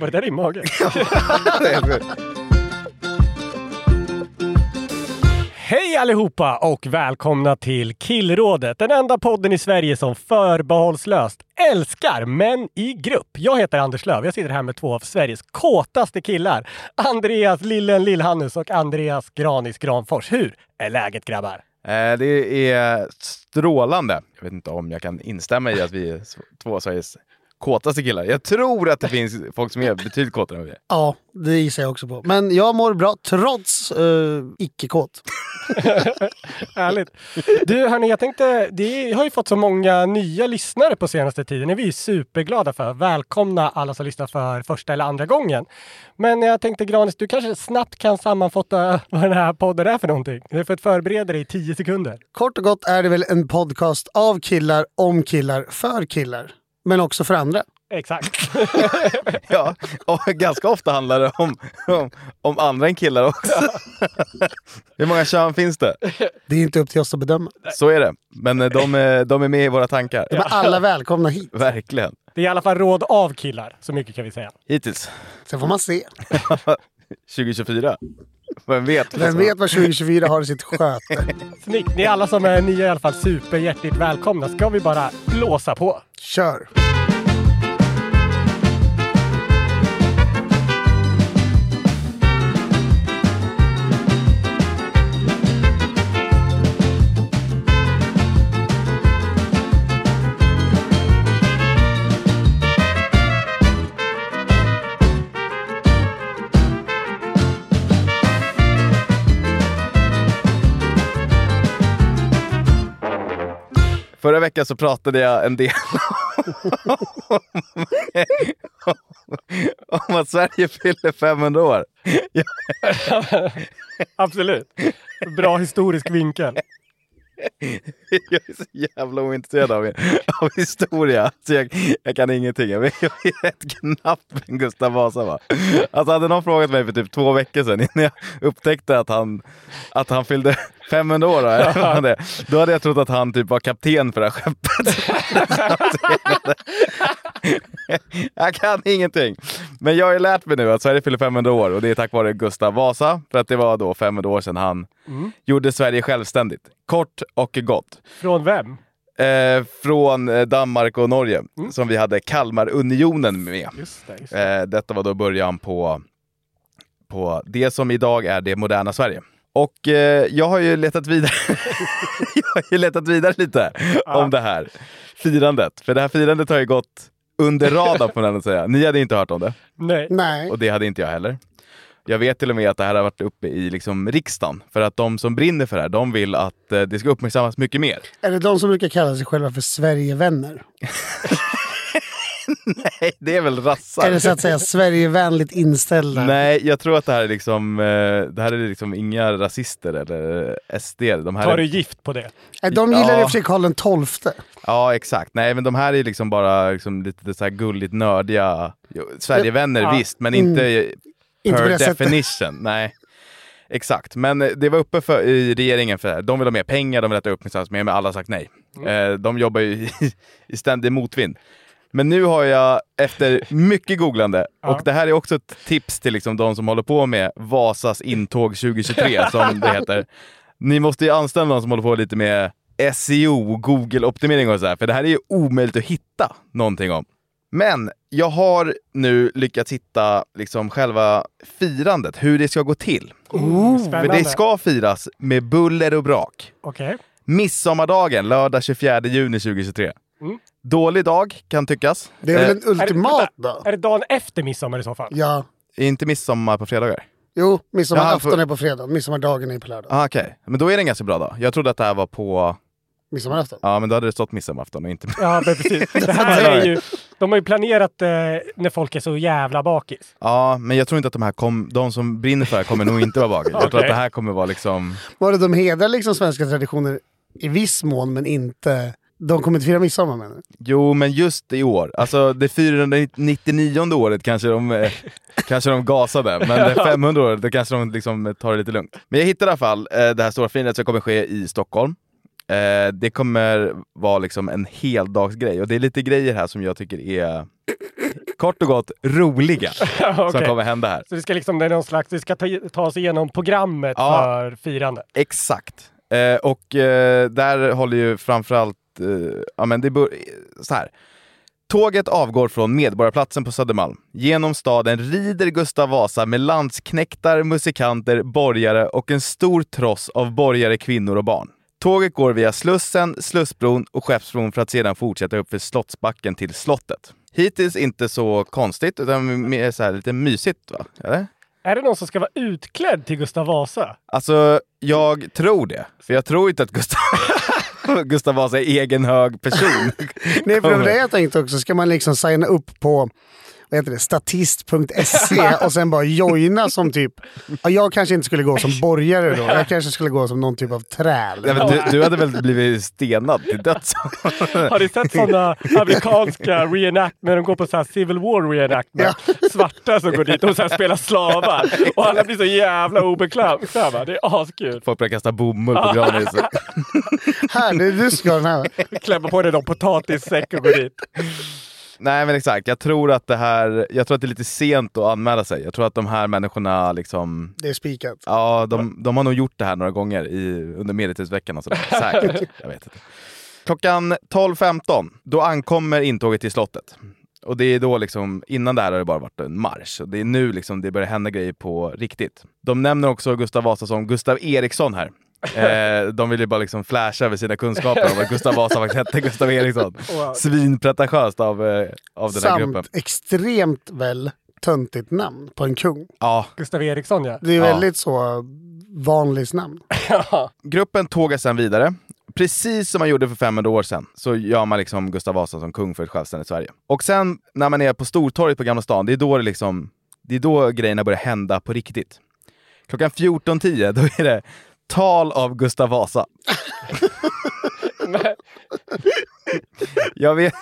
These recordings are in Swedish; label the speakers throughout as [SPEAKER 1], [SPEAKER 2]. [SPEAKER 1] Var det där din mage? Hej allihopa och välkomna till Killrådet. Den enda podden i Sverige som förbehållslöst älskar män i grupp. Jag heter Anders Löv. Jag sitter här med två av Sveriges kåtaste killar. Andreas Lillen Lillhannes och Andreas Granis Granfors. Hur är läget grabbar?
[SPEAKER 2] Eh, Det är strålande. Jag vet inte om jag kan instämma i att vi är s- två av Sveriges kåtaste killar. Jag tror att det finns folk som är betydligt kåtare än vi är.
[SPEAKER 3] Ja, det gissar jag också på. Men jag mår bra trots eh, icke-kåt.
[SPEAKER 1] Härligt. Du hörni, jag tänkte, det har ju fått så många nya lyssnare på senaste tiden. Det är vi ju superglada för. Välkomna alla som lyssnar för första eller andra gången. Men jag tänkte Granis, du kanske snabbt kan sammanfatta vad den här podden är för någonting. Du har fått förbereda dig i tio sekunder.
[SPEAKER 3] Kort och gott är det väl en podcast av killar, om killar, för killar. Men också för andra.
[SPEAKER 1] Exakt.
[SPEAKER 2] Ja, och ganska ofta handlar det om, om, om andra än killar också. Hur många kön finns det?
[SPEAKER 3] Det är inte upp till oss att bedöma.
[SPEAKER 2] Så är det. Men eh, de, är- de är med i våra tankar.
[SPEAKER 3] De är alla välkomna hit.
[SPEAKER 2] Verkligen.
[SPEAKER 1] Det är i alla fall råd av killar. Så mycket kan vi säga.
[SPEAKER 2] Hittills.
[SPEAKER 3] Sen får man se.
[SPEAKER 2] 2024. Vem vet?
[SPEAKER 3] Vem vet vad 2024 har i sitt sköte?
[SPEAKER 1] Snyggt. Ni alla som är nya är i alla fall superhjärtligt välkomna. Ska vi bara blåsa på?
[SPEAKER 3] Kör!
[SPEAKER 2] Förra veckan så pratade jag en del om, om att Sverige fyller 500 år.
[SPEAKER 1] Absolut. Bra historisk vinkel.
[SPEAKER 2] Jag är så jävla ointresserad av, av historia, så jag, jag kan ingenting. Jag, vet- jag är rätt knapp än Gustav Vasa. Va? Alltså, hade någon frågat mig för typ två veckor sedan, innan jag upptäckte att han, att han fyllde 500 år, va? Eller vad han är, då hade jag trott att han typ var kapten för det här skeppet. jag kan ingenting. Men jag har ju lärt mig nu att Sverige fyller 500 år och det är tack vare Gustav Vasa, för att det var då 500 år sedan han gjorde Sverige självständigt. Kort och gott
[SPEAKER 1] Från vem?
[SPEAKER 2] eh, från eh, Danmark och Norge som vi hade Kalmarunionen med.
[SPEAKER 1] Just det. Just det.
[SPEAKER 2] Eh, detta var då början på, på det som idag är det moderna Sverige. Och eh, jag har ju letat vidare, jag har ju letat vidare lite om det här firandet. För det här firandet har ju gått under radarn får man ändå säga. Ni hade inte hört om det
[SPEAKER 1] Nej.
[SPEAKER 3] Nej.
[SPEAKER 2] och det hade inte jag heller. Jag vet till och med att det här har varit uppe i liksom riksdagen för att de som brinner för det här, de vill att eh, det ska uppmärksammas mycket mer.
[SPEAKER 3] Är det de som brukar kalla sig själva för Sverigevänner?
[SPEAKER 2] Nej, det är väl rassar.
[SPEAKER 3] Är det så att säga Sverigevänligt inställda?
[SPEAKER 2] Nej, jag tror att det här är liksom, eh, det här är liksom inga rasister eller SD. De här
[SPEAKER 1] Tar du
[SPEAKER 2] är,
[SPEAKER 1] gift på det?
[SPEAKER 3] Nej. De gillar
[SPEAKER 2] Ja.
[SPEAKER 3] i och för sig Karl XII.
[SPEAKER 2] ja, exakt. Nej, men de här är liksom bara liksom lite så här gulligt nördiga jo, Sverigevänner,
[SPEAKER 1] Ja.
[SPEAKER 2] visst, men inte per
[SPEAKER 3] Inte på det sättet.
[SPEAKER 2] definition. Nej. Exakt, men eh, det var uppe för, i regeringen för det här. De vill ha mer pengar, de vill att det uppmärksammas mer, men alla har sagt nej. Eh, de jobbar ju i, i ständig motvind. Men nu har jag, efter mycket googlande, och det här är också ett tips till liksom de som håller på med Vasas intåg 2023, som det heter. Ni måste ju anställa någon som håller på lite med SEO, Google-optimering och så här, för det här är ju omöjligt att hitta någonting om. Men jag har nu lyckats hitta liksom själva firandet, hur det ska gå till. För
[SPEAKER 1] Spännande.
[SPEAKER 2] det ska firas med buller och brak.
[SPEAKER 1] Okej.
[SPEAKER 2] Midsommardagen, lördag 24 juni 2023. Dålig dag, kan tyckas.
[SPEAKER 3] Det är väl en
[SPEAKER 1] Är det-
[SPEAKER 3] ultimat
[SPEAKER 1] vänta,
[SPEAKER 3] då?
[SPEAKER 1] Är det dagen efter midsommar i så fall?
[SPEAKER 3] Ja.
[SPEAKER 2] Eh, inte midsommar på fredagar?
[SPEAKER 3] Jo, midsommarafton
[SPEAKER 2] Ja, för-
[SPEAKER 3] är på fredag. Midsommardagen är på lördag.
[SPEAKER 2] Ah, Okej, men då är det en ganska bra dag. Jag trodde att det här var på...
[SPEAKER 3] Midsommarafton.
[SPEAKER 2] Ja, men då hade det stått midsommarafton och inte...
[SPEAKER 1] Ja, men precis. Det här är ju, de har ju planerat eh, när folk är så jävla bakis.
[SPEAKER 2] Ja, men jag tror inte att de här kom, de som brinner för det här kommer nog inte vara bakis. Jag tror
[SPEAKER 1] Okej.
[SPEAKER 2] att det här kommer vara liksom...
[SPEAKER 3] Var det de hedrar liksom svenska traditioner i viss mån, men inte... De kommer inte fira midsommar menar du?
[SPEAKER 2] Jo, men just i år. Alltså det 499 året kanske de, eh, kanske de gasade, men det 500 året då kanske de liksom tar det lite lugnt. Men jag hittade i alla fall eh, det här stora firandet som kommer ske i Stockholm. Eh, det kommer vara liksom en heldagsgrej och det är lite grejer här som jag tycker är kort och gott roliga som
[SPEAKER 1] Okej.
[SPEAKER 2] kommer hända här.
[SPEAKER 1] Så det ska liksom, det är någon slags, det ska ta, ta sig igenom programmet
[SPEAKER 2] Ja.
[SPEAKER 1] för firande.
[SPEAKER 2] Exakt. Eh, och eh, där håller ju framförallt... Eh, ja, men det bör, eh, så här. Tåget avgår från Medborgarplatsen på Södermalm. Genom staden rider Gustav Vasa med landsknektar, musikanter, borgare och en stor tross av borgare, kvinnor och barn. Tåget går via Slussen, Slussbron och Skeppsbron för att sedan fortsätta upp för Slottsbacken till slottet. Hittills inte så konstigt, utan mer så här lite mysigt, va? Eller?
[SPEAKER 1] Är det någon som ska vara utklädd till Gustav Vasa?
[SPEAKER 2] Alltså, jag tror det. För jag tror inte att Gustav, Gustav Vasa är egen hög person.
[SPEAKER 3] Nej, för det var det jag tänkte också. Ska man liksom signa upp på vad heter det, statist.se E och sen bara joina som typ... Ja, jag kanske inte skulle gå som borgare då. Jag kanske skulle gå som någon typ av träl.
[SPEAKER 2] Nej, men du, du hade väl blivit stenad till döds?
[SPEAKER 1] Har ni sett sådana amerikanska reenact när de går på så här Civil War reenactment? Svarta som går dit och så här spelar slavar. Och alla blir så jävla obekväma. Det är askul.
[SPEAKER 2] Folk började kasta bomull på granen.
[SPEAKER 3] Här, det är du som ska ha den här.
[SPEAKER 1] Klämma på dig någon potatissäck och gå dit.
[SPEAKER 2] Nej men exakt, jag tror att det här, jag tror att det är lite sent att anmäla sig. Jag tror att de här människorna liksom,
[SPEAKER 3] Det är spikat.
[SPEAKER 2] ja de, de har nog gjort det här några gånger i, under medeltidsveckan och sådär. Säkert, jag vet inte. Klockan 12.15, då ankommer intåget till slottet. Och det är då liksom, innan det här har det bara varit en marsch. Och det är nu liksom det börjar hända grejer på riktigt. De nämner också Gustav Vasa som Gustav Eriksson här. Eh, de vill ju bara liksom flasha över sina kunskaper om att Gustav Vasa faktiskt hette Gustav Eriksson. Svinpretentiöst av, eh, av den här
[SPEAKER 3] Samt
[SPEAKER 2] gruppen.
[SPEAKER 3] extremt väl töntigt namn på en kung.
[SPEAKER 2] Ja,
[SPEAKER 1] Gustav Eriksson ja.
[SPEAKER 3] Det är
[SPEAKER 2] Ja.
[SPEAKER 3] väldigt så vanligt namn.
[SPEAKER 2] gruppen tågar sedan vidare. Precis som man gjorde för 500 år sedan så gör man liksom Gustav Vasa som kung för ett självständigt Sverige. Och sen när man är på Stortorget på Gamla stan, det är då, det liksom, det är då grejerna börjar hända på riktigt. Klockan 14.10, då är det tal av Gustav Vasa. Jag vet,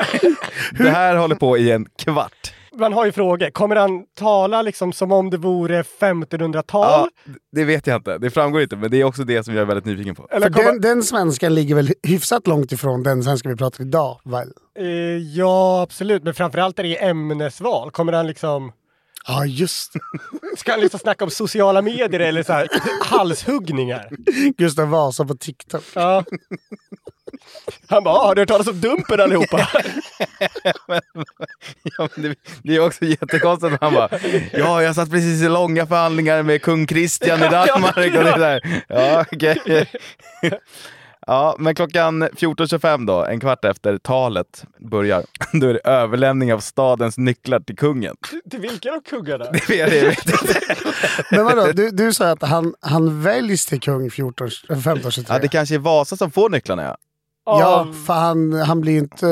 [SPEAKER 2] det här håller på i en kvart.
[SPEAKER 1] Man har ju frågor. Kommer han tala liksom som om det vore 1500-tal?
[SPEAKER 2] Ja, det vet jag inte, det framgår inte, men det är också det som jag är väldigt nyfiken på.
[SPEAKER 1] Eller
[SPEAKER 3] För
[SPEAKER 1] kommer...
[SPEAKER 3] den, den svenskan ligger väl hyfsat långt ifrån den svenska vi pratar idag, väl?
[SPEAKER 1] Eh, ja, absolut. Men framförallt är det ämnesval. Kommer han liksom...
[SPEAKER 3] Ja, just det.
[SPEAKER 1] Ska han liksom snacka om sociala medier eller så här, halshuggningar?
[SPEAKER 3] Gustav Vasa på TikTok.
[SPEAKER 1] Ja. Han bara, "Ah, har du hört talas om Dumpen allihopa?
[SPEAKER 2] Ja, men det, det är också jättekonstigt att han bara “Ja, jag satt precis i långa förhandlingar med kung Christian i Danmark” och det är så här. Ja, okej. Ja, men klockan 14.25 då, en kvart efter talet börjar, då är det överlämning av stadens nycklar till kungen.
[SPEAKER 1] Till vilka av kuggarna?
[SPEAKER 2] Det är det.
[SPEAKER 3] Men vadå, du, du sa att han, han väljs till kung 14, 15, 23.
[SPEAKER 2] Ja, det kanske är Vasa som får nycklarna ja.
[SPEAKER 1] mm.
[SPEAKER 3] Ja, för han, han blir ju inte...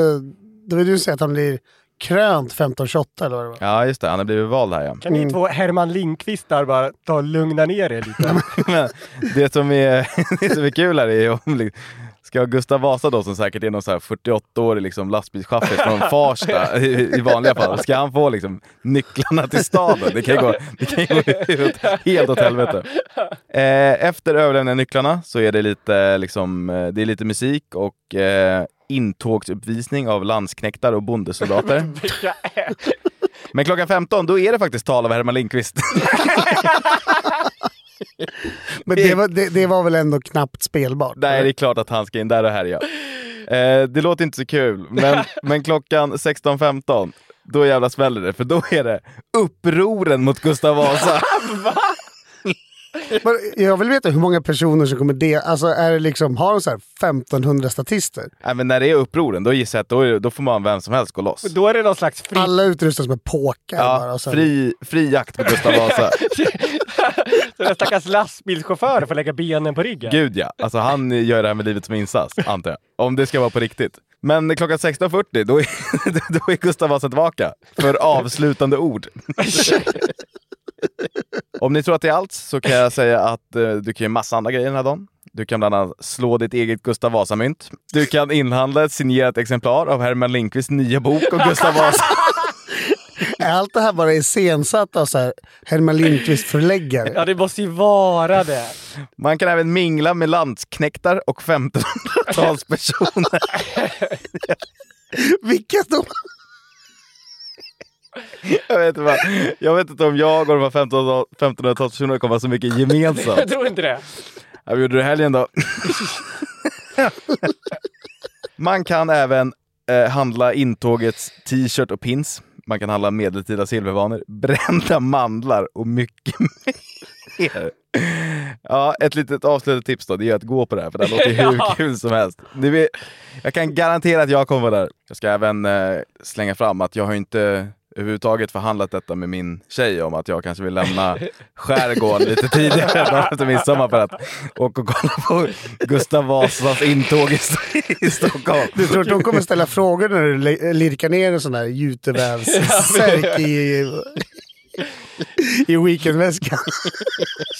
[SPEAKER 3] Det var ju du som sa att han blir krönt 15, 28 eller vad det var.
[SPEAKER 2] Ja, just det, han har blivit vald här ja.
[SPEAKER 1] Kan ni två Herman Lindqvistar bara ta och lugna ner er lite?
[SPEAKER 2] Men det, som är, det som är kul här är om liksom, Ska Gustav Vasa då, som säkert är någon så här 48-årig liksom lastbilschaffis från Farsta i, i vanliga fall, ska han få liksom nycklarna till staden? Det kan ju gå, det kan ju gå ut helt åt helvete. Eh, efter överlämningen av nycklarna så är det lite, liksom, eh, det är lite musik och eh, intågsuppvisning av landsknektar och bondesoldater.
[SPEAKER 1] Vilka är-
[SPEAKER 2] Men klockan 15, då är det faktiskt tal av Herman Lindqvist.
[SPEAKER 3] Men det var, det, det var väl ändå knappt spelbart?
[SPEAKER 2] Nej, det är klart att han ska in där och här ja. Eh, det låter inte så kul, men, men klockan 16.15, då jävla smäller det. För då är det upproren mot Gustav Vasa.
[SPEAKER 3] Men Jag vill veta hur många personer som kommer det... Alltså är det liksom, har de så här 1500 statister?
[SPEAKER 2] Nej, men när det är upproren, då gissar jag att då, är, då får man vem som helst gå loss.
[SPEAKER 1] Då är det någon slags fri...
[SPEAKER 3] Alla utrustas med påkar bara.
[SPEAKER 2] Mm. Ja,
[SPEAKER 3] Och sen,
[SPEAKER 2] fri, fri jakt på Gustav Vasa.
[SPEAKER 1] Den stackars lastbilschauffören får lägga benen på ryggen.
[SPEAKER 2] Gud ja, alltså han gör det här med livet som insats, antar jag. Om det ska vara på riktigt. Men klockan 16.40, då är, då är Gustav Vasa tillbaka för avslutande ord. Om ni tror att det är allt så kan jag säga att eh, du kan göra massa andra grejer den här dagen. Du kan bland annat slå ditt eget Gustav Vasa-mynt. Du kan inhandla ett signerat exemplar av Herman Lindqvists nya bok om Gustav Vasa.
[SPEAKER 3] är allt det här bara iscensatt av så här Herman Lindqvist-förläggare?
[SPEAKER 1] Ja, det måste ju vara det.
[SPEAKER 2] Man kan även mingla med landsknektar och 1500-talspersoner.
[SPEAKER 3] Vilka de...
[SPEAKER 2] Jag vet, inte vad, jag vet inte om jag och de här 1500 1500-talspersonerna kommer ha så mycket gemensamt.
[SPEAKER 1] Jag tror inte det.
[SPEAKER 2] Ja, Vad gjorde du i helgen då? Man kan även eh, handla intågets t-shirt och pins. Man kan handla medeltida silvervanor, brända mandlar och mycket mer. Ja, ett litet avslutande tips då, det är att gå på det här för det här låter ju hur
[SPEAKER 1] Ja.
[SPEAKER 2] kul som helst. Ni vet, jag kan garantera att jag kommer vara där. Jag ska även eh, slänga fram att jag har inte överhuvudtaget förhandlat detta med min tjej om att jag kanske vill lämna skärgården lite tidigare dagen efter midsommar för att åka och kolla på Gustav Vasas intåg i, St- i Stockholm.
[SPEAKER 3] Du tror att de kommer ställa frågor när du li- lirkar ner en sån här jutevävssärk i, i weekendväskan?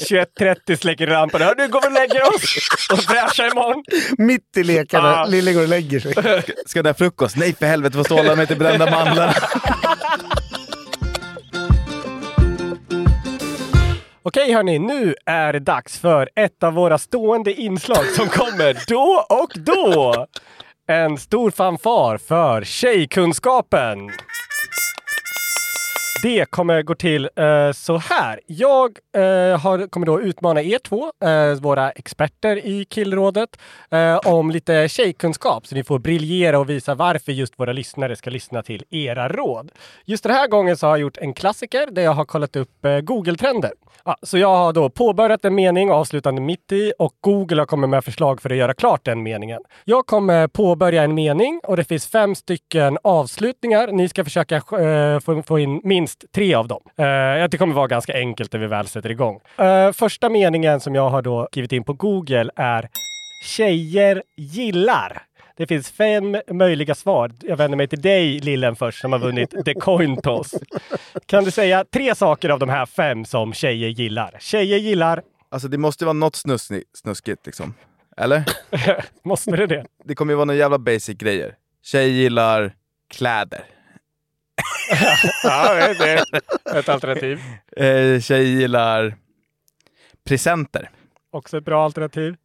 [SPEAKER 1] 21.30 släcker lampan. Hör du, går vi och lägger oss och fräschar imorgon.
[SPEAKER 3] Mitt i lekarna.
[SPEAKER 1] Ah.
[SPEAKER 3] Lille går och lägger sig.
[SPEAKER 2] Ska det ha frukost? Nej för helvete, får ståla mig till brända mandlar.
[SPEAKER 1] Okej hörni, nu är det dags för ett av våra stående inslag som kommer då och då. En stor fanfar för tjejkunskapen. Det kommer gå till eh, så här. Jag eh, har, kommer då utmana er två, eh, våra experter i killrådet, eh, om lite tjejkunskap så ni får briljera och visa varför just våra lyssnare ska lyssna till era råd. Just den här gången så har jag gjort en klassiker där jag har kollat upp eh, Google-trender. Ja, så jag har då påbörjat en mening och avslutat den mitt i och Google har kommit med förslag för att göra klart den meningen. Jag kommer påbörja en mening och det finns fem stycken avslutningar. Ni ska försöka eh, få, få in minst tre av dem. Eh, det kommer vara ganska enkelt när vi väl sätter igång. Eh, första meningen som jag har då skrivit in på Google är Tjejer gillar. Det finns fem möjliga svar. Jag vänder mig till dig, Lillen, först, som har vunnit The Coin Toss. Kan du säga tre saker av de här fem som tjejer gillar? Tjejer gillar...
[SPEAKER 2] Alltså det måste ju vara något snusni- snuskigt liksom. Eller?
[SPEAKER 1] Måste det det?
[SPEAKER 2] Det kommer ju vara några jävla basic grejer. Tjej gillar kläder.
[SPEAKER 1] Ja, det är ett alternativ.
[SPEAKER 2] Eh, tjej gillar presenter.
[SPEAKER 1] Också ett bra alternativ.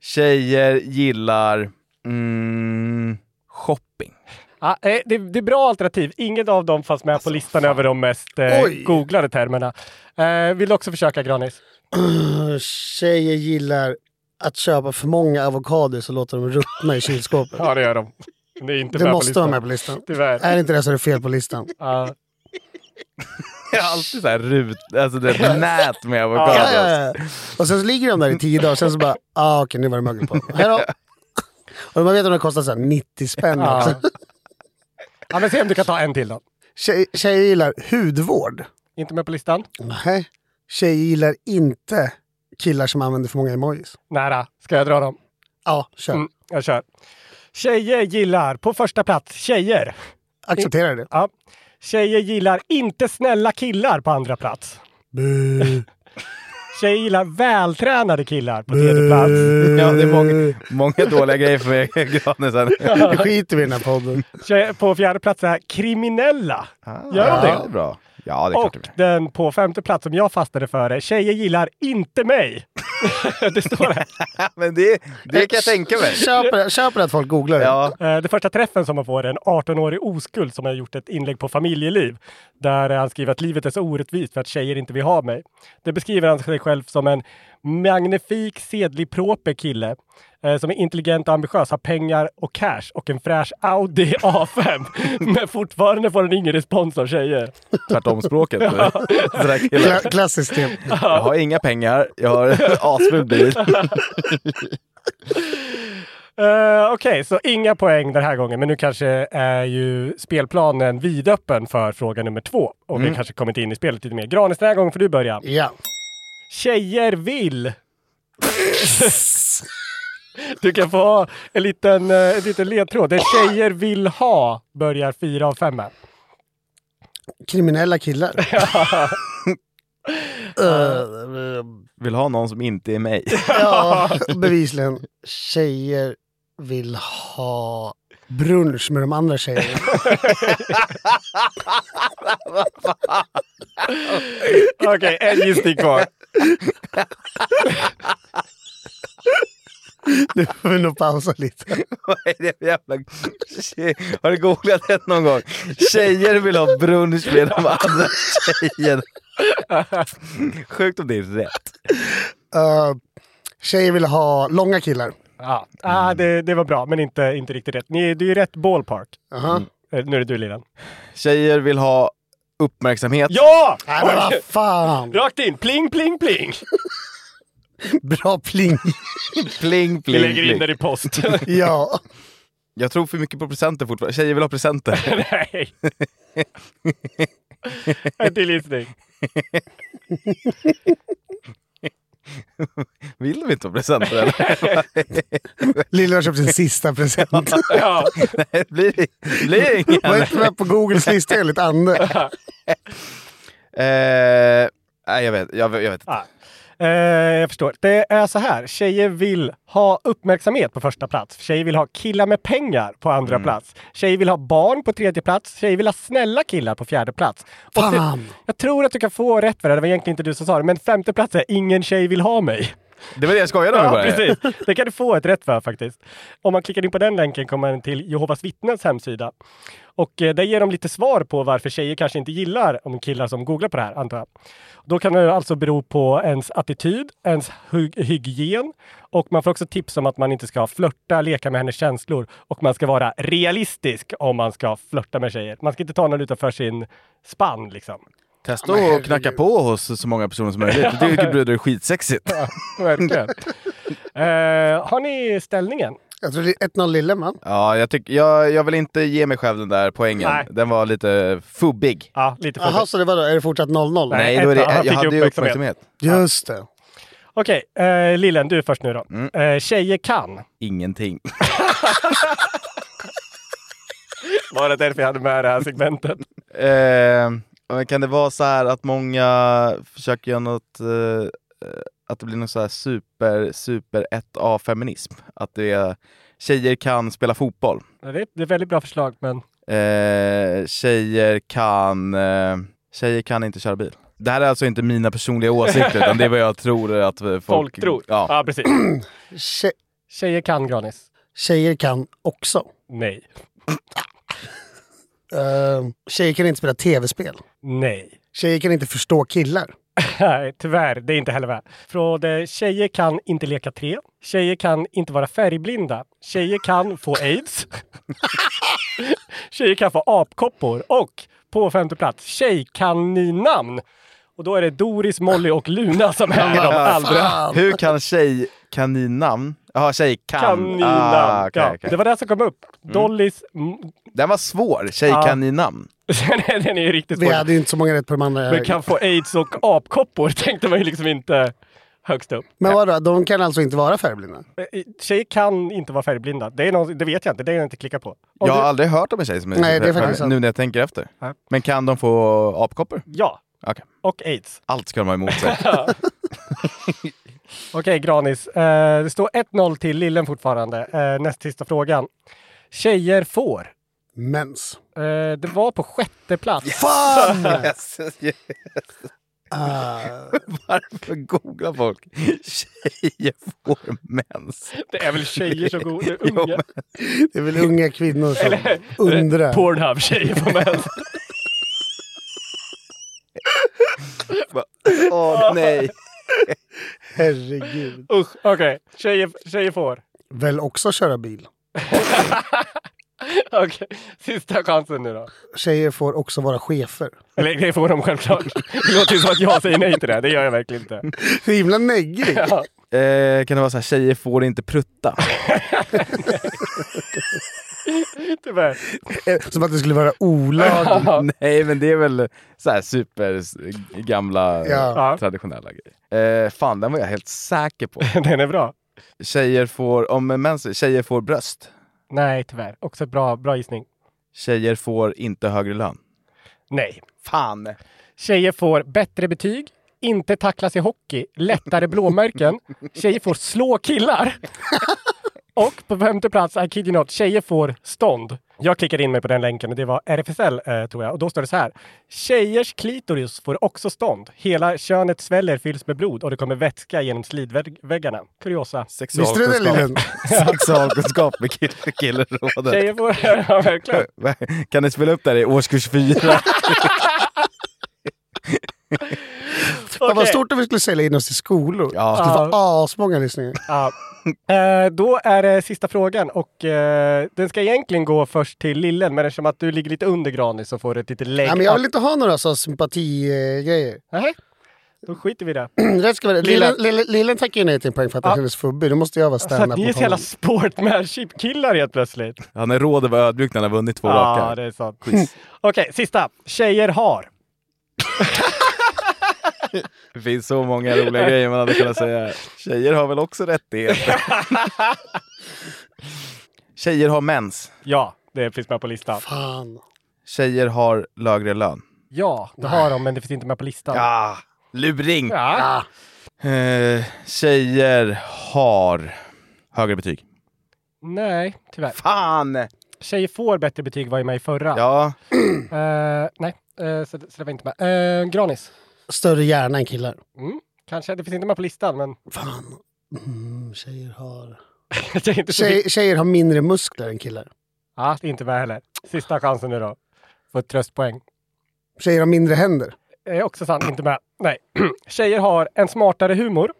[SPEAKER 2] Tjejer gillar mm, shopping.
[SPEAKER 1] Ja, eh, det, det är bra alternativ. Inget av dem fanns med på listan över de mest eh,
[SPEAKER 3] Oj.
[SPEAKER 1] googlade termerna. Eh, vill du också försöka, Granis?
[SPEAKER 3] Tjejer gillar att köpa för många avokados och låta dem ruttna i kylskåpet.
[SPEAKER 1] Ja, det gör de. Det är inte
[SPEAKER 3] Det
[SPEAKER 1] med
[SPEAKER 3] måste
[SPEAKER 1] på
[SPEAKER 3] vara
[SPEAKER 1] listan.
[SPEAKER 3] med på listan.
[SPEAKER 1] Tyvärr.
[SPEAKER 3] Är det inte det så är det fel på listan.
[SPEAKER 1] Ja.
[SPEAKER 2] Jag har alltid så här rut, alltså det är ett nät med avokados.
[SPEAKER 3] Ja, ja, ja. Och sen så ligger de där i tio dagar, sen så bara, ah, okej nu var det mögel på. Hej då! Och man vet om det kostar så här 90 spänn
[SPEAKER 1] Ja.
[SPEAKER 3] också.
[SPEAKER 1] ja, men se om du kan ta en till då.
[SPEAKER 3] Tjej, tjejer gillar hudvård.
[SPEAKER 1] Inte med på listan?
[SPEAKER 3] Nej. Tjejer gillar inte killar som använder för många emojis.
[SPEAKER 1] Nära. Ska jag dra dem?
[SPEAKER 3] Ja, kör.
[SPEAKER 1] Mm, jag kör. Tjejer gillar, på första plats, tjejer.
[SPEAKER 3] Accepterar det.
[SPEAKER 1] Ja. Tjejer gillar inte snälla killar på andra plats.
[SPEAKER 3] Bu.
[SPEAKER 1] Tjejer gillar vältränade killar på tredje plats.
[SPEAKER 2] Ja, det är många, många dåliga grejer för mig, Granis. här.
[SPEAKER 3] Nu skiter vi i den här podden.
[SPEAKER 1] Tjejer, på fjärde plats är kriminella. Gör de
[SPEAKER 2] Ah, Ja, det
[SPEAKER 1] det?
[SPEAKER 2] är bra. Ja, det är klart.
[SPEAKER 1] Och
[SPEAKER 2] det blir.
[SPEAKER 1] den på femte plats som jag fastnade för är Tjejer gillar inte mig. det står här.
[SPEAKER 2] Ja, men det, det kan jag tänka mig.
[SPEAKER 3] Köper det, köper det att folk googlar det.
[SPEAKER 2] Ja,
[SPEAKER 1] Eh, Den första träffen som man får är en 18-årig oskuld som har gjort ett inlägg på familjeliv. Där han skriver att livet är så orättvist för att tjejer inte vill ha mig. Det beskriver han sig själv som en magnifik, sedlig, proper kille. eh, Som är intelligent och ambitiös, har pengar och cash och en fräsch Audi A5. Men fortfarande får han ingen respons av tjejer.
[SPEAKER 2] tvärtom språket. Sådär killar.
[SPEAKER 3] Kla- klassiskt typ.
[SPEAKER 2] Jag har inga pengar, jag har en asful bil.
[SPEAKER 1] Eh, Okej, så inga poäng den här gången, men nu kanske är ju spelplanen vidöppen för fråga nummer två. Och vi kanske kommit in i spelet lite mer. Granis, den här gången får du börja.
[SPEAKER 3] Ja.
[SPEAKER 1] Tjejer vill. du kan få en liten, eh, en liten ledtråd. Det tjejer vill ha börjar fyra av fem med.
[SPEAKER 3] Kriminella killar. Eh,
[SPEAKER 2] Vill ha någon som inte är mig.
[SPEAKER 3] ja, bevisligen. Tjejer vill ha brunch med de andra tjejerna.
[SPEAKER 1] Okej, en gissning kvar.
[SPEAKER 3] Nu får vi nog pausa lite.
[SPEAKER 2] Vad är det för jävla... Tje- Har du googlat det någon gång? Tjejer vill ha brunch med de andra tjejerna. Sjukt om det är rätt.
[SPEAKER 3] Eh, tjejer vill ha långa killar.
[SPEAKER 1] Ja, ah, det, det var bra, men inte, inte riktigt rätt. Ni, du är i rätt ballpark.
[SPEAKER 3] Aha.
[SPEAKER 1] Eh, Nu är det du, Liran.
[SPEAKER 2] Tjejer vill ha uppmärksamhet.
[SPEAKER 1] Ja!
[SPEAKER 3] Nej men vad fan!
[SPEAKER 1] Rakt in! Pling, pling, pling!
[SPEAKER 3] Bra pling.
[SPEAKER 2] Pling,
[SPEAKER 1] Vi
[SPEAKER 2] pling,
[SPEAKER 1] lägger in
[SPEAKER 2] pling.
[SPEAKER 1] den i post.
[SPEAKER 3] Ja.
[SPEAKER 2] Jag tror för mycket på presenter fortfarande. Tjejer vill ha presenter.
[SPEAKER 1] Nej. En till gissning.
[SPEAKER 2] Vill de inte ha presenter eller?
[SPEAKER 3] Lilla har köpt sin sista present.
[SPEAKER 1] Ja.
[SPEAKER 2] Nej, det blir, det blir inga.
[SPEAKER 3] Var inte med på Googles lista enligt Ande.
[SPEAKER 2] Eh, nej, jag vet, jag, vet- jag vet inte.
[SPEAKER 1] Ah. Eh, jag förstår. Det är så här. Tjejer vill ha uppmärksamhet på första plats. Tjejer vill ha killar med pengar på andra plats. Tjejer vill ha barn på tredje plats. Tjejer vill ha snälla killar på fjärde plats. Och det-
[SPEAKER 3] Fan.
[SPEAKER 1] jag tror att du kan få rätt för det. Det var egentligen inte du som sa det. Men femte plats är ingen tjej vill ha mig.
[SPEAKER 2] Det var det jag skojade om.
[SPEAKER 1] Ja,
[SPEAKER 2] bara.
[SPEAKER 1] precis. Det kan du få ett rätt för faktiskt. Om man klickar in på den länken kommer man till Jehovas vittnens hemsida. Och eh, där ger de lite svar på varför tjejer kanske inte gillar om killar som googlar på det här, antar jag. Då kan det alltså bero på ens attityd, ens hy- hygien och man får också tips om att man inte ska flörta, leka med hennes känslor och man ska vara realistisk om man ska flörta med tjejer. Man ska inte ta någon utanför sin spann liksom.
[SPEAKER 2] Testa att knacka på hos så många personer som möjligt. Det tycker bröder är skitsexigt.
[SPEAKER 1] Verkligen. Eh, har ni ställningen?
[SPEAKER 3] Jag tror det är 1-0 Lille man.
[SPEAKER 2] Ja, jag, tyck, jag, jag vill inte ge mig själv den där poängen.
[SPEAKER 1] Nej.
[SPEAKER 2] Den var lite fubbig.
[SPEAKER 1] Ja, lite
[SPEAKER 3] Jaha,
[SPEAKER 1] frågor.
[SPEAKER 3] så det var då, är det fortsatt 0-0?
[SPEAKER 1] Nej.
[SPEAKER 2] då är det,
[SPEAKER 1] ett- han
[SPEAKER 2] jag
[SPEAKER 1] fick
[SPEAKER 2] hade ju
[SPEAKER 1] uppmärksamhet.
[SPEAKER 2] uppmärksamhet.
[SPEAKER 3] Just det.
[SPEAKER 1] Okej, eh, Lillen, du är först nu då. Eh, tjejer kan.
[SPEAKER 2] Ingenting.
[SPEAKER 1] Var det därför jag hade med det här segmentet?
[SPEAKER 2] Eh, men kan det vara så här att många försöker göra något, eh, att det blir någon så här super, super 1A-feminism? Att det är, tjejer kan spela fotboll.
[SPEAKER 1] Det är, det är ett väldigt bra förslag, men
[SPEAKER 2] Eh, tjejer kan... Eh, tjejer kan inte köra bil. Det här är alltså inte mina personliga åsikter, utan det är vad jag tror att eh, folk...
[SPEAKER 1] folk tror.
[SPEAKER 2] Ja.
[SPEAKER 1] ja, precis.
[SPEAKER 3] Tje-
[SPEAKER 1] Tjejer kan, Granis.
[SPEAKER 3] tjejer kan också.
[SPEAKER 1] Nej.
[SPEAKER 3] Uh, tjejer kan inte spela tv-spel.
[SPEAKER 1] Nej.
[SPEAKER 3] Tjejer kan inte förstå killar.
[SPEAKER 1] Nej, tyvärr. Det är inte heller med. Från eh, tjejer kan inte leka tre. Tjejer kan inte vara färgblinda. Tjejer kan få aids. tjejer kan få apkoppor. Och på femte plats, tjej kan ni namn. Och då är det Doris, Molly och Luna som är de allra
[SPEAKER 2] Hur kan tjej kaninnamn? Jaha, tjej kan.
[SPEAKER 1] Kaninamn.
[SPEAKER 2] Ah, okej,
[SPEAKER 1] ja.
[SPEAKER 2] okej.
[SPEAKER 1] Det var det som kom upp. Dollys... Mm.
[SPEAKER 2] Den var svår. Tjej
[SPEAKER 1] Ja.
[SPEAKER 2] kaninnamn.
[SPEAKER 1] Den- Den är ju riktigt
[SPEAKER 3] Vi
[SPEAKER 1] svår.
[SPEAKER 3] hade ju inte så många rätt på de andra.
[SPEAKER 1] Men kan få aids och apkoppor tänkte man ju liksom inte högst upp.
[SPEAKER 3] Men vadå, de kan alltså inte vara färgblinda?
[SPEAKER 1] Eh, Tjejer kan inte vara färgblinda. Det, är någon, det vet jag inte. Det har jag inte klickat på. Om
[SPEAKER 2] Jag har
[SPEAKER 1] du-
[SPEAKER 2] aldrig hört om en tjej som är
[SPEAKER 3] Nej, det är faktiskt sant.
[SPEAKER 2] Nu när jag tänker efter.
[SPEAKER 1] Nej.
[SPEAKER 2] Men kan de få apkoppor?
[SPEAKER 1] ja.
[SPEAKER 2] Okej.
[SPEAKER 1] Och aids.
[SPEAKER 2] Allt ska de ha emot sig.
[SPEAKER 1] Okej, Granis. Eh, det står 1-0 till Lillen fortfarande. Eh, näst sista frågan. Tjejer får.
[SPEAKER 3] Mens.
[SPEAKER 1] Eh, det var på sjätte plats.
[SPEAKER 3] Fan!
[SPEAKER 2] Yes, yes.
[SPEAKER 3] Ah,
[SPEAKER 2] Varför googlar folk tjejer får mens?
[SPEAKER 1] Det är väl tjejer som går... det är
[SPEAKER 2] Jo,
[SPEAKER 1] Unga.
[SPEAKER 2] men-
[SPEAKER 3] det är väl unga kvinnor som undrar.
[SPEAKER 1] Pornhub-tjejer på mens.
[SPEAKER 2] Bara, Åh nej!
[SPEAKER 3] Herregud.
[SPEAKER 1] Usch, okej. Tjejer, tjejer får.
[SPEAKER 3] Väl också köra bil.
[SPEAKER 1] Okej, sista chansen nu då.
[SPEAKER 3] Tjejer får också vara chefer.
[SPEAKER 1] Eller det får de självklart. Det låter ju som att jag säger nej till det. Det gör jag verkligen inte.
[SPEAKER 3] Så himla neggig.
[SPEAKER 2] Eh, kan det vara så här, tjejer får inte prutta?
[SPEAKER 1] Tyvärr.
[SPEAKER 3] Som att det skulle vara olagligt.
[SPEAKER 2] nej, men det är väl så här supergamla
[SPEAKER 3] Ja.
[SPEAKER 2] traditionella grejer. Eh, fan, den var jag helt säker på.
[SPEAKER 1] Den är bra.
[SPEAKER 2] Tjejer får, om mens, tjejer får bröst.
[SPEAKER 1] Nej, tyvärr. Också bra, bra gissning.
[SPEAKER 2] Tjejer får inte högre lön.
[SPEAKER 1] Nej.
[SPEAKER 2] Fan!
[SPEAKER 1] Tjejer får bättre betyg, inte tacklas i hockey, lättare blåmärken. Tjejer får slå killar. Och på femte plats, I kid you not, tjejer får stånd. Jag klickade in mig på den länken och det var RFSL eh, tror jag. Och då står det så här. Tjejers klitoris får också stånd. Hela könet sväller, fylls med blod och det kommer vätska genom slidväggarna. Kuriosa.
[SPEAKER 3] Visste du det Lillen?
[SPEAKER 2] Sexualkunskap med kill- killrådet.
[SPEAKER 1] Tjejer får... ja, verkligen.
[SPEAKER 2] Kan ni spela upp det här i årskurs fyra?
[SPEAKER 3] Fan
[SPEAKER 1] Okej.
[SPEAKER 3] Vad stort om vi skulle sälja in oss i skolor.
[SPEAKER 2] Ja.
[SPEAKER 3] Det skulle vara asmånga lyssningar.
[SPEAKER 1] Ja. Eh, då är det sista frågan och eh, den ska egentligen gå först till Lillen men eftersom att du ligger lite under Granis så får du ett litet lägg.
[SPEAKER 3] Nej, men jag vill inte ha några sådana sympatigrejer.
[SPEAKER 1] Nej, Då skiter vi i det.
[SPEAKER 3] Rätt ska vara
[SPEAKER 1] Lillen-
[SPEAKER 3] Lillen, Lillen, Lillen tackade ju nej till en poäng för att han kändes fubbig. Då måste jag vara
[SPEAKER 1] Så att
[SPEAKER 3] standup
[SPEAKER 1] Alltså, ni är
[SPEAKER 3] mot
[SPEAKER 1] så jävla
[SPEAKER 3] honom.
[SPEAKER 1] sportmanship-killar helt plötsligt.
[SPEAKER 2] Han är råd över ödmjuk när han har vunnit två
[SPEAKER 1] Ja,
[SPEAKER 2] raka.
[SPEAKER 1] det är sant. Okej, sista. Tjejer har.
[SPEAKER 2] Det finns så många roliga grejer man hade kunnat säga. Tjejer har väl också rättigheter? Tjejer har mens.
[SPEAKER 1] Ja, det finns med på listan.
[SPEAKER 3] Fan.
[SPEAKER 2] Tjejer har lägre lön.
[SPEAKER 1] Ja, det har de men det finns inte med på listan.
[SPEAKER 2] Ah, luring!
[SPEAKER 3] Ah.
[SPEAKER 1] Ja.
[SPEAKER 2] Eh, tjejer har högre betyg.
[SPEAKER 1] Nej, tyvärr.
[SPEAKER 2] Fan!
[SPEAKER 1] Tjejer får bättre betyg var ju med i förra.
[SPEAKER 2] Ja,
[SPEAKER 1] Eh, nej, eh, så, så det var inte med. Eh, Granis.
[SPEAKER 3] Större hjärna än killar.
[SPEAKER 1] Mm. Kanske, det finns inte med på listan men...
[SPEAKER 3] Fan. Mm, tjejer har...
[SPEAKER 1] det är inte så
[SPEAKER 3] Tjej, tjejer har mindre muskler än killar.
[SPEAKER 1] Ja, det är inte med heller. Sista chansen nu då. Få ett tröstpoäng.
[SPEAKER 3] Tjejer har mindre händer.
[SPEAKER 1] Är också sant, inte med. Nej. Tjejer har en smartare humor.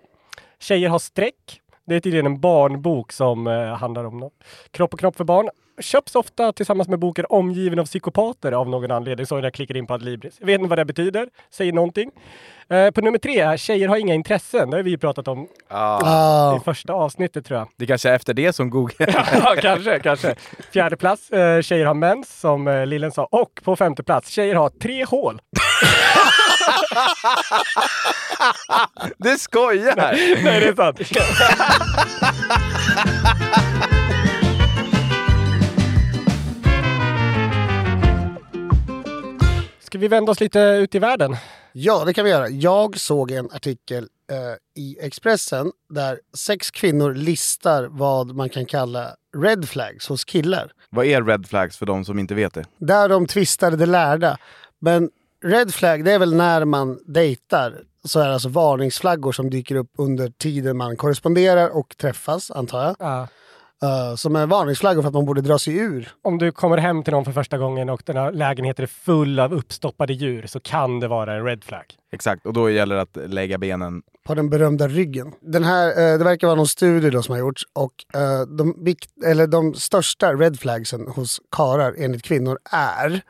[SPEAKER 1] Tjejer har streck. Det är tydligen en barnbok som eh, handlar om något. kropp och knopp för barn. Köps ofta tillsammans med boken Omgiven av psykopater av någon anledning. Så jag klickar in på Adlibris. Jag vet inte vad det betyder. Säger någonting. Eh, på nummer tre är tjejer har inga intressen. Det har vi ju pratat om i
[SPEAKER 3] Ah,
[SPEAKER 1] första avsnittet tror jag.
[SPEAKER 2] det kanske är efter det som Google...
[SPEAKER 1] Ja, kanske, kanske. Fjärde plats, eh, tjejer har mens, som eh, Lillen sa. Och på femte plats, tjejer har tre hål.
[SPEAKER 2] Du skojar!
[SPEAKER 1] Nej, det är sant. Ska vi vända oss lite ut i världen?
[SPEAKER 3] ja, det kan vi göra. Jag såg en artikel eh, i Expressen där sex kvinnor listar vad man kan kalla red flags hos killar.
[SPEAKER 2] Vad är red flags för de som inte vet det?
[SPEAKER 3] Där de tvistar det lärda. Men red flag, det är väl när man dejtar. Så är det alltså varningsflaggor som dyker upp under tiden man korresponderar och träffas, antar jag. Eh, som är varningsflaggor för att man borde dra sig ur.
[SPEAKER 1] Om du kommer hem till någon för första gången och den här lägenheten är full av uppstoppade djur så kan det vara en red flag.
[SPEAKER 2] Exakt, och då gäller det att lägga benen.
[SPEAKER 3] på den berömda ryggen. Den här, eh, det verkar vara någon studie då som har gjorts och eh, de, vikt, eller de största red flagsen hos karar enligt kvinnor är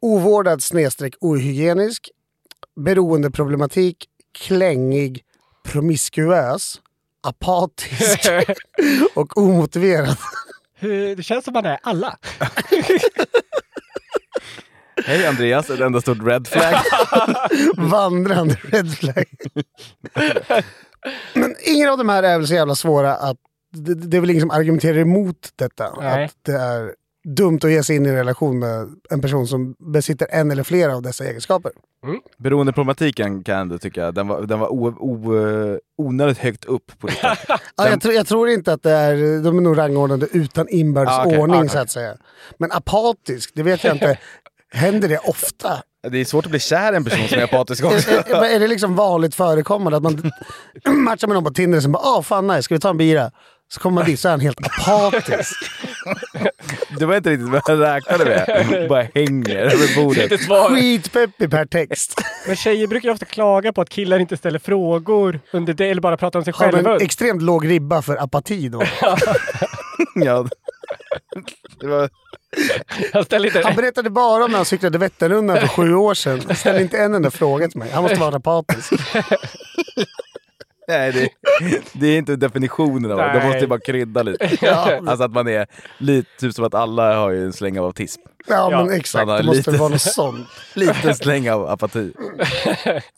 [SPEAKER 3] ovårdad snedstreck ohygienisk, beroendeproblematik, klängig, promiskuös, apatisk och omotiverad.
[SPEAKER 1] Hur- Det känns som man är alla.
[SPEAKER 2] Hej Andreas, ett enda stort red flag. Mm.
[SPEAKER 3] vandrande red flag. Men ingen av de här är väl så jävla svåra att det, det är väl ingen som argumenterar emot detta.
[SPEAKER 1] Nej.
[SPEAKER 3] Att det är dumt att ge sig in i en relation med en person som besitter en eller flera av dessa egenskaper.
[SPEAKER 2] Beroendeproblematiken kan jag ändå tycka, den var, den var o, o, eh, onödigt högt upp på listan.
[SPEAKER 3] Ja, jag, tror, jag tror inte att det är, de är nog rangordnade utan inbördes
[SPEAKER 2] Ah, okej.
[SPEAKER 3] ordning
[SPEAKER 2] Ah, okej.
[SPEAKER 3] så att säga. Men apatisk, det vet jag inte. Händer det ofta?
[SPEAKER 2] Det är svårt att bli kär i en person som är apatisk också.
[SPEAKER 3] Är, är, är det liksom vanligt förekommande att man matchar med någon på Tinder och sen bara “Åh, fan nice, ska vi ta en bira?” Så kommer man dit så är han helt apatisk.
[SPEAKER 2] Det var inte riktigt vad jag räknade med. Bara hänger över bordet.
[SPEAKER 3] Skitpeppig per text.
[SPEAKER 1] Men tjejer brukar ju ofta klaga på att killar inte ställer frågor under det eller bara pratar om sig
[SPEAKER 3] Har
[SPEAKER 1] själva.
[SPEAKER 3] en extremt låg ribba för apati då.
[SPEAKER 2] Ja. Det var...
[SPEAKER 1] Jag ställer
[SPEAKER 3] Han
[SPEAKER 1] inte...
[SPEAKER 3] berättade bara om när han cyklade Vätternrundan för sju år sedan. Ställde inte en enda fråga till mig. Han måste vara apatisk.
[SPEAKER 2] Nej, det, det är inte definitionen av det.
[SPEAKER 1] Nej.
[SPEAKER 2] De måste ju bara krydda lite. Alltså att man är lite, typ som att alla har ju en släng av autism.
[SPEAKER 3] Ja,
[SPEAKER 1] Ja,
[SPEAKER 3] men exakt.
[SPEAKER 2] han har
[SPEAKER 3] Det måste
[SPEAKER 2] lite-
[SPEAKER 3] väl vara något sånt.
[SPEAKER 2] Lite släng av apati.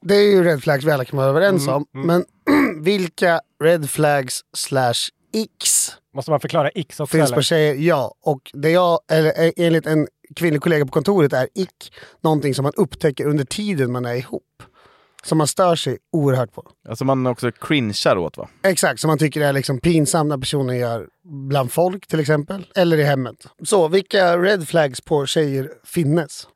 [SPEAKER 3] Det är ju red flags vi alla kan vara överens
[SPEAKER 2] Mm,
[SPEAKER 3] om. Men vilka red flags slash x
[SPEAKER 1] Måste man förklara X också
[SPEAKER 3] finns på
[SPEAKER 1] eller?
[SPEAKER 3] tjejer? Ja, och det jag, eller eh, enligt en kvinnlig kollega på kontoret är ick någonting som man upptäcker under tiden man är ihop. Som man stör sig oerhört på.
[SPEAKER 2] Alltså man också cringear åt va?
[SPEAKER 3] Exakt, som man tycker är liksom pinsamt när personen gör bland folk till exempel. Eller i hemmet. Så vilka red flags på tjejer finnes?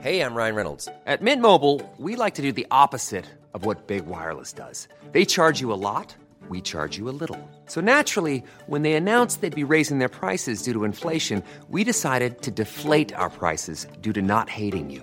[SPEAKER 4] Hey, I'm Ryan Reynolds. At Mint Mobile, we like to do the opposite of what Big Wireless does. They charge you a lot, we charge you a little. So naturally, when they announced they'd be raising their prices due to inflation, we decided to deflate our prices due to not hating you.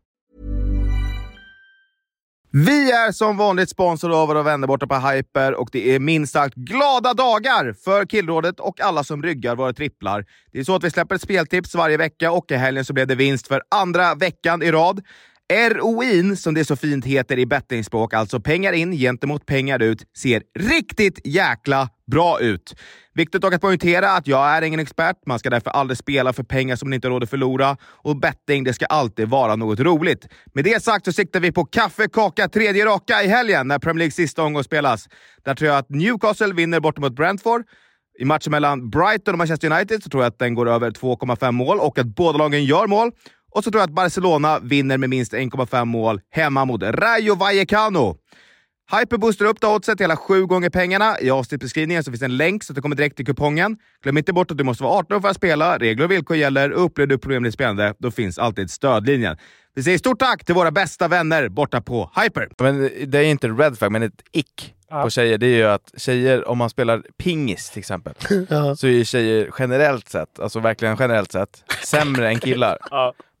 [SPEAKER 2] Vi är som vanligt sponsrade av våra vänner borta på Hyper och det är minst sagt glada dagar för Killrådet och alla som ryggar våra tripplar. Det är så att vi släpper ett speltips varje vecka och i helgen så blev det vinst för andra veckan i rad. ROIn, som det så fint heter i bettingspråk, alltså pengar in gentemot pengar ut, ser riktigt jäkla bra ut. Viktigt dock att poängtera att jag är ingen expert. Man ska därför aldrig spela för pengar som man inte har råd att förlora. Och betting, det ska alltid vara något roligt. Med det sagt så siktar vi på kaffe, kaka, tredje raka i helgen när Premier Leagues sista omgång spelas. Där tror jag att Newcastle vinner bort mot Brentford. I matchen mellan Brighton och Manchester United så tror jag att den går över 2,5 mål och att båda lagen gör mål. Och så tror jag att Barcelona vinner med minst 1,5 mål hemma mot Rayo Vallecano. Hyper boostar upp då oddset till hela sju gånger pengarna. I avsnittbeskrivningen så finns en länk så att du kommer direkt till kupongen. Glöm inte bort att du måste vara 18 år för att spela. Regler och villkor gäller. Upplever du problem med spelande, då finns alltid stödlinjen. Vi säger stort tack till våra bästa vänner borta på Hyper. Men det är inte en red flag, men ett ick på tjejer. Det är ju att tjejer, om man spelar pingis till exempel, så är ju tjejer generellt sett, alltså verkligen generellt sett, sämre än killar.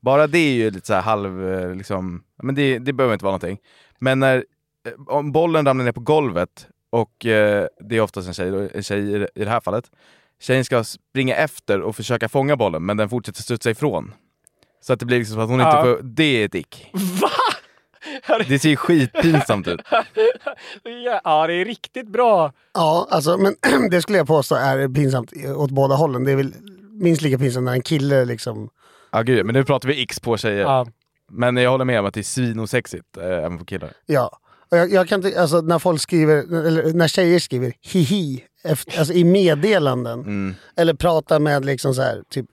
[SPEAKER 2] Bara det är ju lite så här halv... eh, Liksom, men det, det behöver inte vara någonting. Men när eh, om bollen ramlar ner på golvet och eh, det är oftast en tjej, då, en tjej i, det- i det här fallet. Tjejen ska springa efter och försöka fånga bollen, men den fortsätter studsa ifrån. Så att det blir liksom som att hon
[SPEAKER 1] Ja.
[SPEAKER 2] inte får... Det är ett ick. Det ser ju skitpinsamt ut.
[SPEAKER 1] Ja, ja, det är riktigt bra.
[SPEAKER 3] Ja, alltså, men det skulle jag påstå är pinsamt åt båda hållen. Det är väl minst lika pinsamt när en kille liksom...
[SPEAKER 2] Ja, gud, men nu pratar vi x på tjejer.
[SPEAKER 1] Ja.
[SPEAKER 2] Men jag håller med om att det är svinosexigt, eh, även på killar.
[SPEAKER 3] Ja. Och jag, jag kan ty- alltså, när folk skriver, eller när tjejer skriver hihi efter, alltså, i meddelanden. Eller pratar med liksom så här, typ,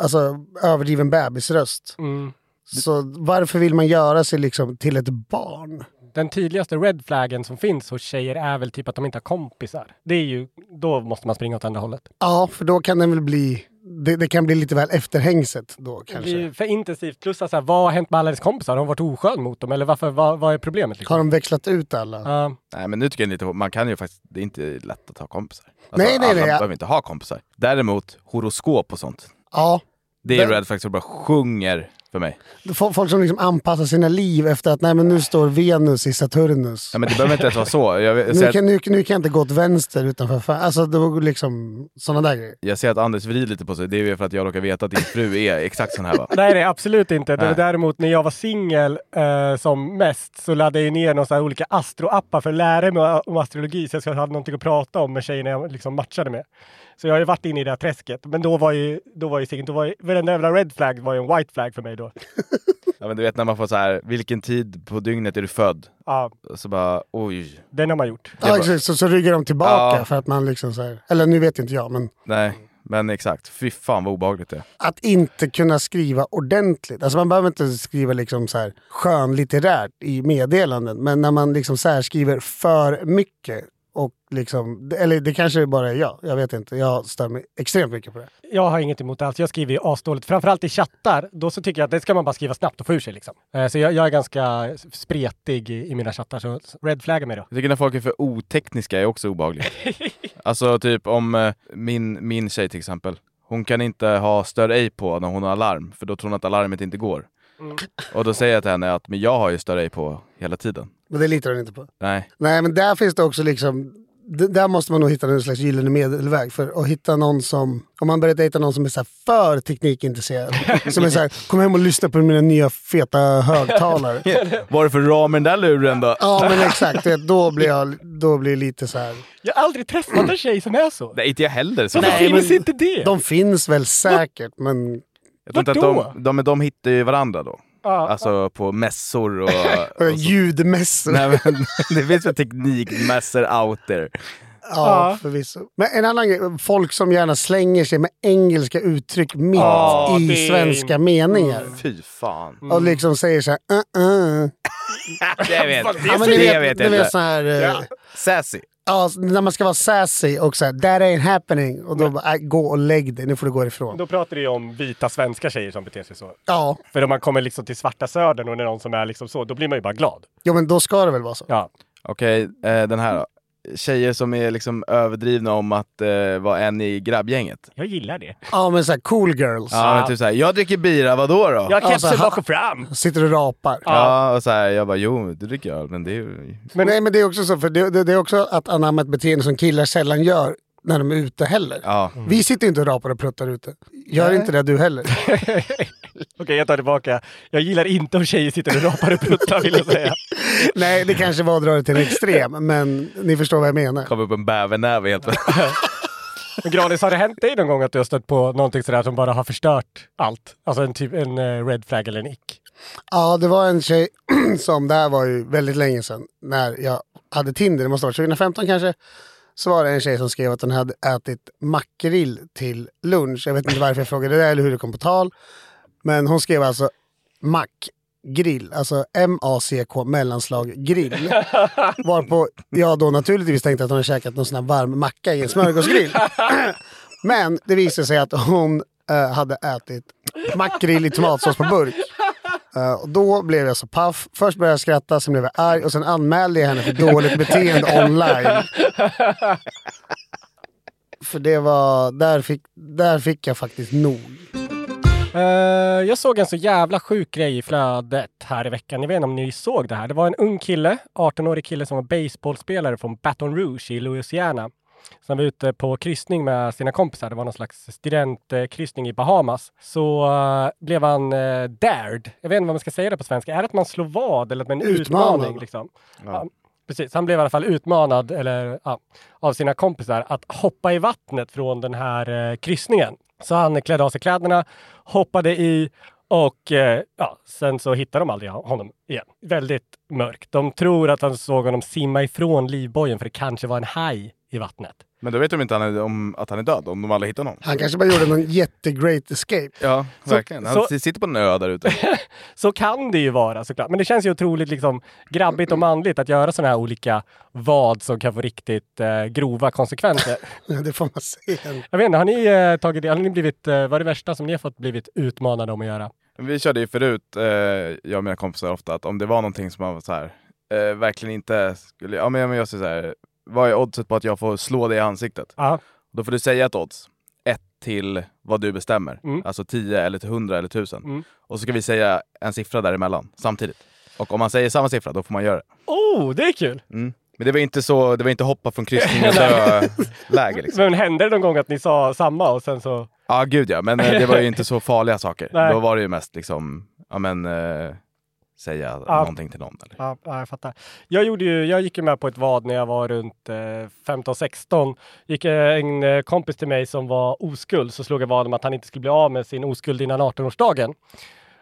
[SPEAKER 3] alltså, överdriven bebisröst.
[SPEAKER 1] Mm.
[SPEAKER 3] Så varför vill man göra sig liksom till ett barn?
[SPEAKER 1] Den tydligaste red flaggen som finns hos tjejer är väl typ att de inte har kompisar. Det är ju, då måste man springa åt andra hållet.
[SPEAKER 3] Ja, för då kan den väl bli det, det kan bli lite väl efterhängset då
[SPEAKER 1] Det
[SPEAKER 3] kanske.
[SPEAKER 1] blir ju för intensivt. Plus att så här, vad har hänt med alla hennes kompisar? Har hon varit oskön mot dem? Eller varför, vad, vad är problemet? Liksom?
[SPEAKER 3] Har de växlat ut alla?
[SPEAKER 1] Ja.
[SPEAKER 2] Nej men nu tycker jag det är lite hårt. Man kan ju faktiskt, det är inte lätt att ha kompisar. Alltså,
[SPEAKER 3] Nej, nej, nej,
[SPEAKER 2] Alla
[SPEAKER 3] ja.
[SPEAKER 2] behöver inte ha kompisar. Däremot horoskop och sånt.
[SPEAKER 3] Ja.
[SPEAKER 2] Det är
[SPEAKER 3] Det-
[SPEAKER 2] red flags som bara sjunger för mig.
[SPEAKER 3] F- Folk som liksom anpassar sina liv efter att nej men nu står Venus i Saturnus.
[SPEAKER 2] Ja, men det behöver inte ens vara så. Jag, jag, ser
[SPEAKER 3] Nu
[SPEAKER 2] att,
[SPEAKER 3] kan, nu, nu kan jag inte gå åt vänster utanför fan. Alltså det var liksom sådana där grejer.
[SPEAKER 2] jag ser att Anders vrider lite på sig. Det är ju för att jag råkar veta att din fru är exakt sån här va?
[SPEAKER 1] Nej, nej, absolut inte. Det var
[SPEAKER 2] Nej.
[SPEAKER 1] däremot när jag var singel eh, som mest så laddade jag ju ner några så här olika astroappar för att lära mig om astrologi så jag skulle ha någonting att prata om med tjejerna jag liksom matchade med. Så jag har ju varit inne i det här träsket. Men då var ju, då var ju singel, då var ju, varenda jävla red flag var ju en white flag för mig då.
[SPEAKER 2] Ja, men du vet när man får så här, vilken tid på dygnet är du född?
[SPEAKER 1] Ja,
[SPEAKER 2] Så bara, oj.
[SPEAKER 1] den har man gjort.
[SPEAKER 3] Ja, exakt, så, så ryggar de tillbaka
[SPEAKER 2] Ja.
[SPEAKER 3] för att man liksom så här, Eller nu vet inte jag men.
[SPEAKER 2] Nej, men exakt. Fy fan vad obehagligt det är.
[SPEAKER 3] Att inte kunna skriva ordentligt. Alltså man behöver inte skriva liksom så här skönlitterärt i meddelanden. Men när man liksom så här skriver för mycket. Och liksom, eller det kanske bara är jag. Jag vet inte. Jag stör mig extremt mycket på det.
[SPEAKER 1] Jag har inget emot det alls. Jag skriver ju asdåligt. Framförallt i chattar. Då så tycker jag att det ska man bara skriva snabbt och få ur sig liksom. Eh, så jag, jag är ganska spretig i, i mina chattar. Så red flagga mig då.
[SPEAKER 2] Jag tycker när folk är för otekniska är också obehagligt. alltså typ om eh, min, min tjej till exempel. Hon kan inte ha stör ej på när hon har alarm, för då tror hon att alarmet inte går. Och då säger jag till henne att men jag har ju stör ej på hela tiden.
[SPEAKER 3] Men det litar hon inte på.
[SPEAKER 2] Nej.
[SPEAKER 3] Nej, men där finns det också liksom... d- Där måste man nog hitta någon slags gyllene medelväg. För att hitta någon som... Om man börjar dejta någon som är så här för teknikintresserad. som är så här, kom hem och lyssna på mina nya feta högtalare.
[SPEAKER 2] Vad är det för ram i den där luren då?
[SPEAKER 3] ja, men exakt. du Vet, då, blir jag, då blir jag lite så här...
[SPEAKER 1] Jag har aldrig träffat en tjej som är så.
[SPEAKER 2] Nej, inte jag heller. Så
[SPEAKER 1] Varför
[SPEAKER 3] Nej,
[SPEAKER 1] finns
[SPEAKER 3] men-
[SPEAKER 1] inte det?
[SPEAKER 3] De finns väl säkert, men... eh,
[SPEAKER 2] jag tror inte
[SPEAKER 1] vadå?
[SPEAKER 2] att de, de, men de hittar ju varandra då.
[SPEAKER 1] Ja.
[SPEAKER 2] Alltså på mässor och...
[SPEAKER 3] och
[SPEAKER 1] Alltså.
[SPEAKER 2] och så.
[SPEAKER 3] Ljudmässor.
[SPEAKER 2] Nej, men, det finns väl teknikmässor out there.
[SPEAKER 3] Ja, förvisso. Men en annan grej. Folk som gärna slänger sig med engelska uttryck mitt
[SPEAKER 1] Ja,
[SPEAKER 3] i
[SPEAKER 1] det är- Mm.
[SPEAKER 3] svenska meningar.
[SPEAKER 2] Fy fan.
[SPEAKER 3] Och liksom säger så här... Uh -uh.
[SPEAKER 2] Det vet,
[SPEAKER 3] Ja, men
[SPEAKER 2] det
[SPEAKER 3] ni
[SPEAKER 2] vet,
[SPEAKER 3] vet,
[SPEAKER 2] jag
[SPEAKER 3] ni
[SPEAKER 2] inte.
[SPEAKER 3] vet så här, eh, ja.
[SPEAKER 2] Sassy.
[SPEAKER 3] när man ska vara sassy och så här, that ain't happening. Och då bara, äh, gå och lägg dig, nu får du gå ifrån.
[SPEAKER 1] Då pratar du ju om vita svenska tjejer som beter sig så.
[SPEAKER 3] Ja,
[SPEAKER 1] För om man kommer liksom till svarta södern och det är någon som är liksom så, då blir man ju bara glad.
[SPEAKER 3] ja, men då ska det väl vara så.
[SPEAKER 1] Ja.
[SPEAKER 2] Okej, eh, den här då. Tjejer som är liksom överdrivna om att eh, vara en i grabbgänget.
[SPEAKER 1] Jag gillar det.
[SPEAKER 3] Ja, men så här, cool girls.
[SPEAKER 2] Ja, men typ såhär, jag dricker bira, vadå då?
[SPEAKER 1] Jag har
[SPEAKER 3] Alltså,
[SPEAKER 1] kepsen
[SPEAKER 3] ha-
[SPEAKER 1] bak och fram!
[SPEAKER 3] Sitter och rapar.
[SPEAKER 2] Ja, och så här, jag bara, jo, du dricker öl, men det är ju...
[SPEAKER 3] Men, Nej, men det är också så, för det, det, det är också att anamma ett beteende som killar sällan gör när de är ute heller.
[SPEAKER 2] Ja.
[SPEAKER 3] Vi sitter inte och rapar och pruttar ute. Gör inte det du heller.
[SPEAKER 1] Okej, jag tar tillbaka. Jag gillar inte om tjejer sitter och rapar och pruttar vill jag säga.
[SPEAKER 3] Nej, det kanske var att dra det till en extrem, men ni förstår vad jag menar.
[SPEAKER 2] Kom upp en bävernäve helt
[SPEAKER 1] Men Granis, har det hänt dig någon gång att du har stött på någonting sådär som bara har förstört allt? Alltså en, typ, en eh, red flag eller en ick?
[SPEAKER 3] Ja, det var en tjej som, det här var ju väldigt länge sedan, när jag hade Tinder, det måste ha varit 2015 kanske, så var det en tjej som skrev att hon hade ätit makrill till lunch. Jag vet inte varför jag frågade det eller hur det kom på tal. Men hon skrev alltså mackgrill, alltså M-A-C-K mellanslag grill. Varpå jag då naturligtvis tänkte att hon hade käkat någon sån här varm macka i en smörgåsgrill. Men det visade sig att hon eh, hade ätit makrill i tomatsås på burk. Eh, och då blev jag så paff. Först började jag skratta, sen blev jag arg och sen anmälde jag henne för dåligt beteende online. För det var, där fick, där fick jag faktiskt nog.
[SPEAKER 1] Eh, jag såg en så jävla sjuk grej i flödet här i veckan. Jag vet inte om ni såg det här. Det var en ung kille, 18-årig kille som var baseballspelare från Baton Rouge i Louisiana. Som var ute på kryssning med sina kompisar. Det var någon slags studentkryssning i Bahamas. Så eh, blev han eh, dared. Jag vet inte vad man ska säga det på svenska. Är det att man slår vad eller att man är
[SPEAKER 3] Utmanad.
[SPEAKER 1] utmaning? Liksom? Ja, precis. Han blev i alla fall utmanad eller, ja, av sina kompisar att hoppa i vattnet från den här eh, kryssningen. Så han klädde av sig kläderna, hoppade i och eh, ja, sen så hittade de aldrig honom igen. Väldigt mörkt. De tror att han såg honom simma ifrån livbojen för det kanske var en haj i vattnet.
[SPEAKER 2] Men då vet de inte han är, om att han är död, om de aldrig hittar någon.
[SPEAKER 3] Han kanske bara gjorde någon jättegreat escape.
[SPEAKER 2] Ja,
[SPEAKER 1] Så-
[SPEAKER 2] verkligen. Han
[SPEAKER 1] så-
[SPEAKER 2] s- sitter på en ö där ute.
[SPEAKER 1] Så kan det ju vara såklart. Men det känns ju otroligt liksom, grabbigt och manligt att göra sådana här olika vad som kan få riktigt eh, grova konsekvenser.
[SPEAKER 3] Ja, det får man säga.
[SPEAKER 1] Jag vet inte, har ni eh, tagit det? Har ni blivit, eh, vad är det värsta som ni har fått blivit utmanade om att göra?
[SPEAKER 2] Vi körde ju förut, eh, jag och mina kompisar ofta, att om det var någonting som man var så här, eh, verkligen inte skulle... Ja, men jag- men jag säger så här, vad är oddset på att jag får slå dig i ansiktet?
[SPEAKER 1] Ja,
[SPEAKER 2] Då får du säga ett odds. Ett till vad du bestämmer.
[SPEAKER 1] Mm.
[SPEAKER 2] Alltså 10 eller till 100 eller 1000. Och så ska vi säga en siffra däremellan samtidigt. Och om man säger samma siffra, då får man göra det.
[SPEAKER 1] Oh, det är kul!
[SPEAKER 2] Mm. Men det var inte så, det var inte hoppa från kryssning och dö-läge liksom.
[SPEAKER 1] Men hände det någon gång att ni sa samma och sen så...
[SPEAKER 2] Ja, gud ja. Men eh, det var ju inte så farliga saker.
[SPEAKER 1] Nej.
[SPEAKER 2] Då var det ju mest liksom, ja men, eh, säga någonting till någon. Eller?
[SPEAKER 1] Ja, ja, jag fattar. Jag, gjorde ju, jag gick ju med på ett vad när jag var runt eh, 15-16. gick eh, en eh, kompis till mig som var oskuld, så slog jag vad om att han inte skulle bli av med sin oskuld innan 18-årsdagen.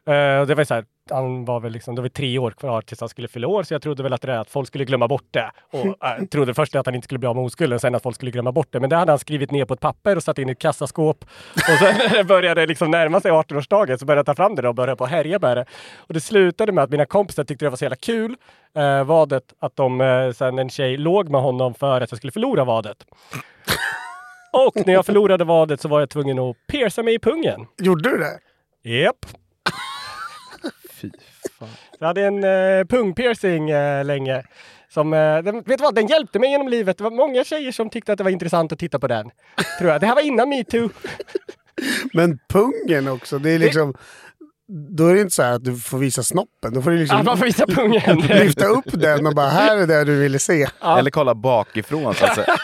[SPEAKER 1] Eh, och det var ju så här, han var väl liksom, det var tre år kvar tills han skulle fylla år, så jag trodde väl att, det där, att folk skulle glömma bort det. Och eh, trodde först att han inte skulle bli av med oskulden, sen att folk skulle glömma bort det. Men det hade han skrivit ner på ett papper och satt in i ett kassaskåp. Och sen när det började liksom närma sig 18-årsdagen så började jag ta fram det då och började på att härja med det. Och det slutade med att mina kompisar tyckte det var så jävla kul, eh, vadet, att de, eh, sen en tjej låg med honom för att jag skulle förlora vadet. Och när jag förlorade vadet så var jag tvungen att pierca mig i pungen.
[SPEAKER 3] Gjorde du det?
[SPEAKER 1] Japp. Fy fan. Jag hade en eh, pungpiercing eh, länge. Som, eh, den, vet du vad, den hjälpte mig genom livet. Det var många tjejer som tyckte att det var intressant att titta på den. Tror jag. Det här var innan metoo.
[SPEAKER 3] Men pungen också, det är liksom... Då är det inte så här att du får visa snoppen. Då får du
[SPEAKER 1] Att man
[SPEAKER 3] liksom
[SPEAKER 1] får visa pungen.
[SPEAKER 3] lyfta upp den och bara här är det du ville se.
[SPEAKER 2] eller kolla bakifrån. Så att säga.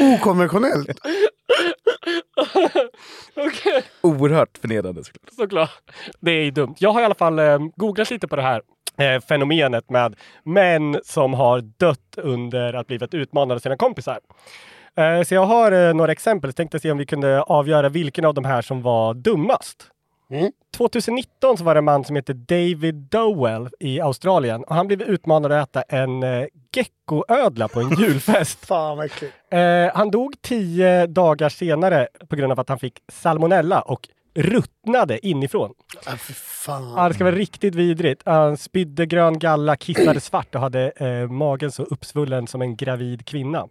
[SPEAKER 3] Okonventionellt.
[SPEAKER 1] Okej,
[SPEAKER 2] Oerhört förnedrande såklart.
[SPEAKER 1] Såklart. Det är ju dumt. Jag har i alla fall eh, googlat lite på det här eh, fenomenet med män som har dött under att blivit utmanade av sina kompisar. Eh, så jag har eh, några exempel. Jag tänkte se om vi kunde avgöra vilken av de här som var dummast. 2019 så var det en man som heter David Dowell i Australien och han blev utmanad att äta en eh, geckoödla på en julfest.
[SPEAKER 3] Fan vad äckligt.
[SPEAKER 1] Eh, han dog tio dagar senare på grund av att han fick salmonella och ruttnade inifrån.
[SPEAKER 3] Ja, fy fan.
[SPEAKER 1] Ah, det ska vara riktigt vidrigt. Han spydde grön galla, kissade svart och hade eh, magen så uppsvullen som en gravid kvinna.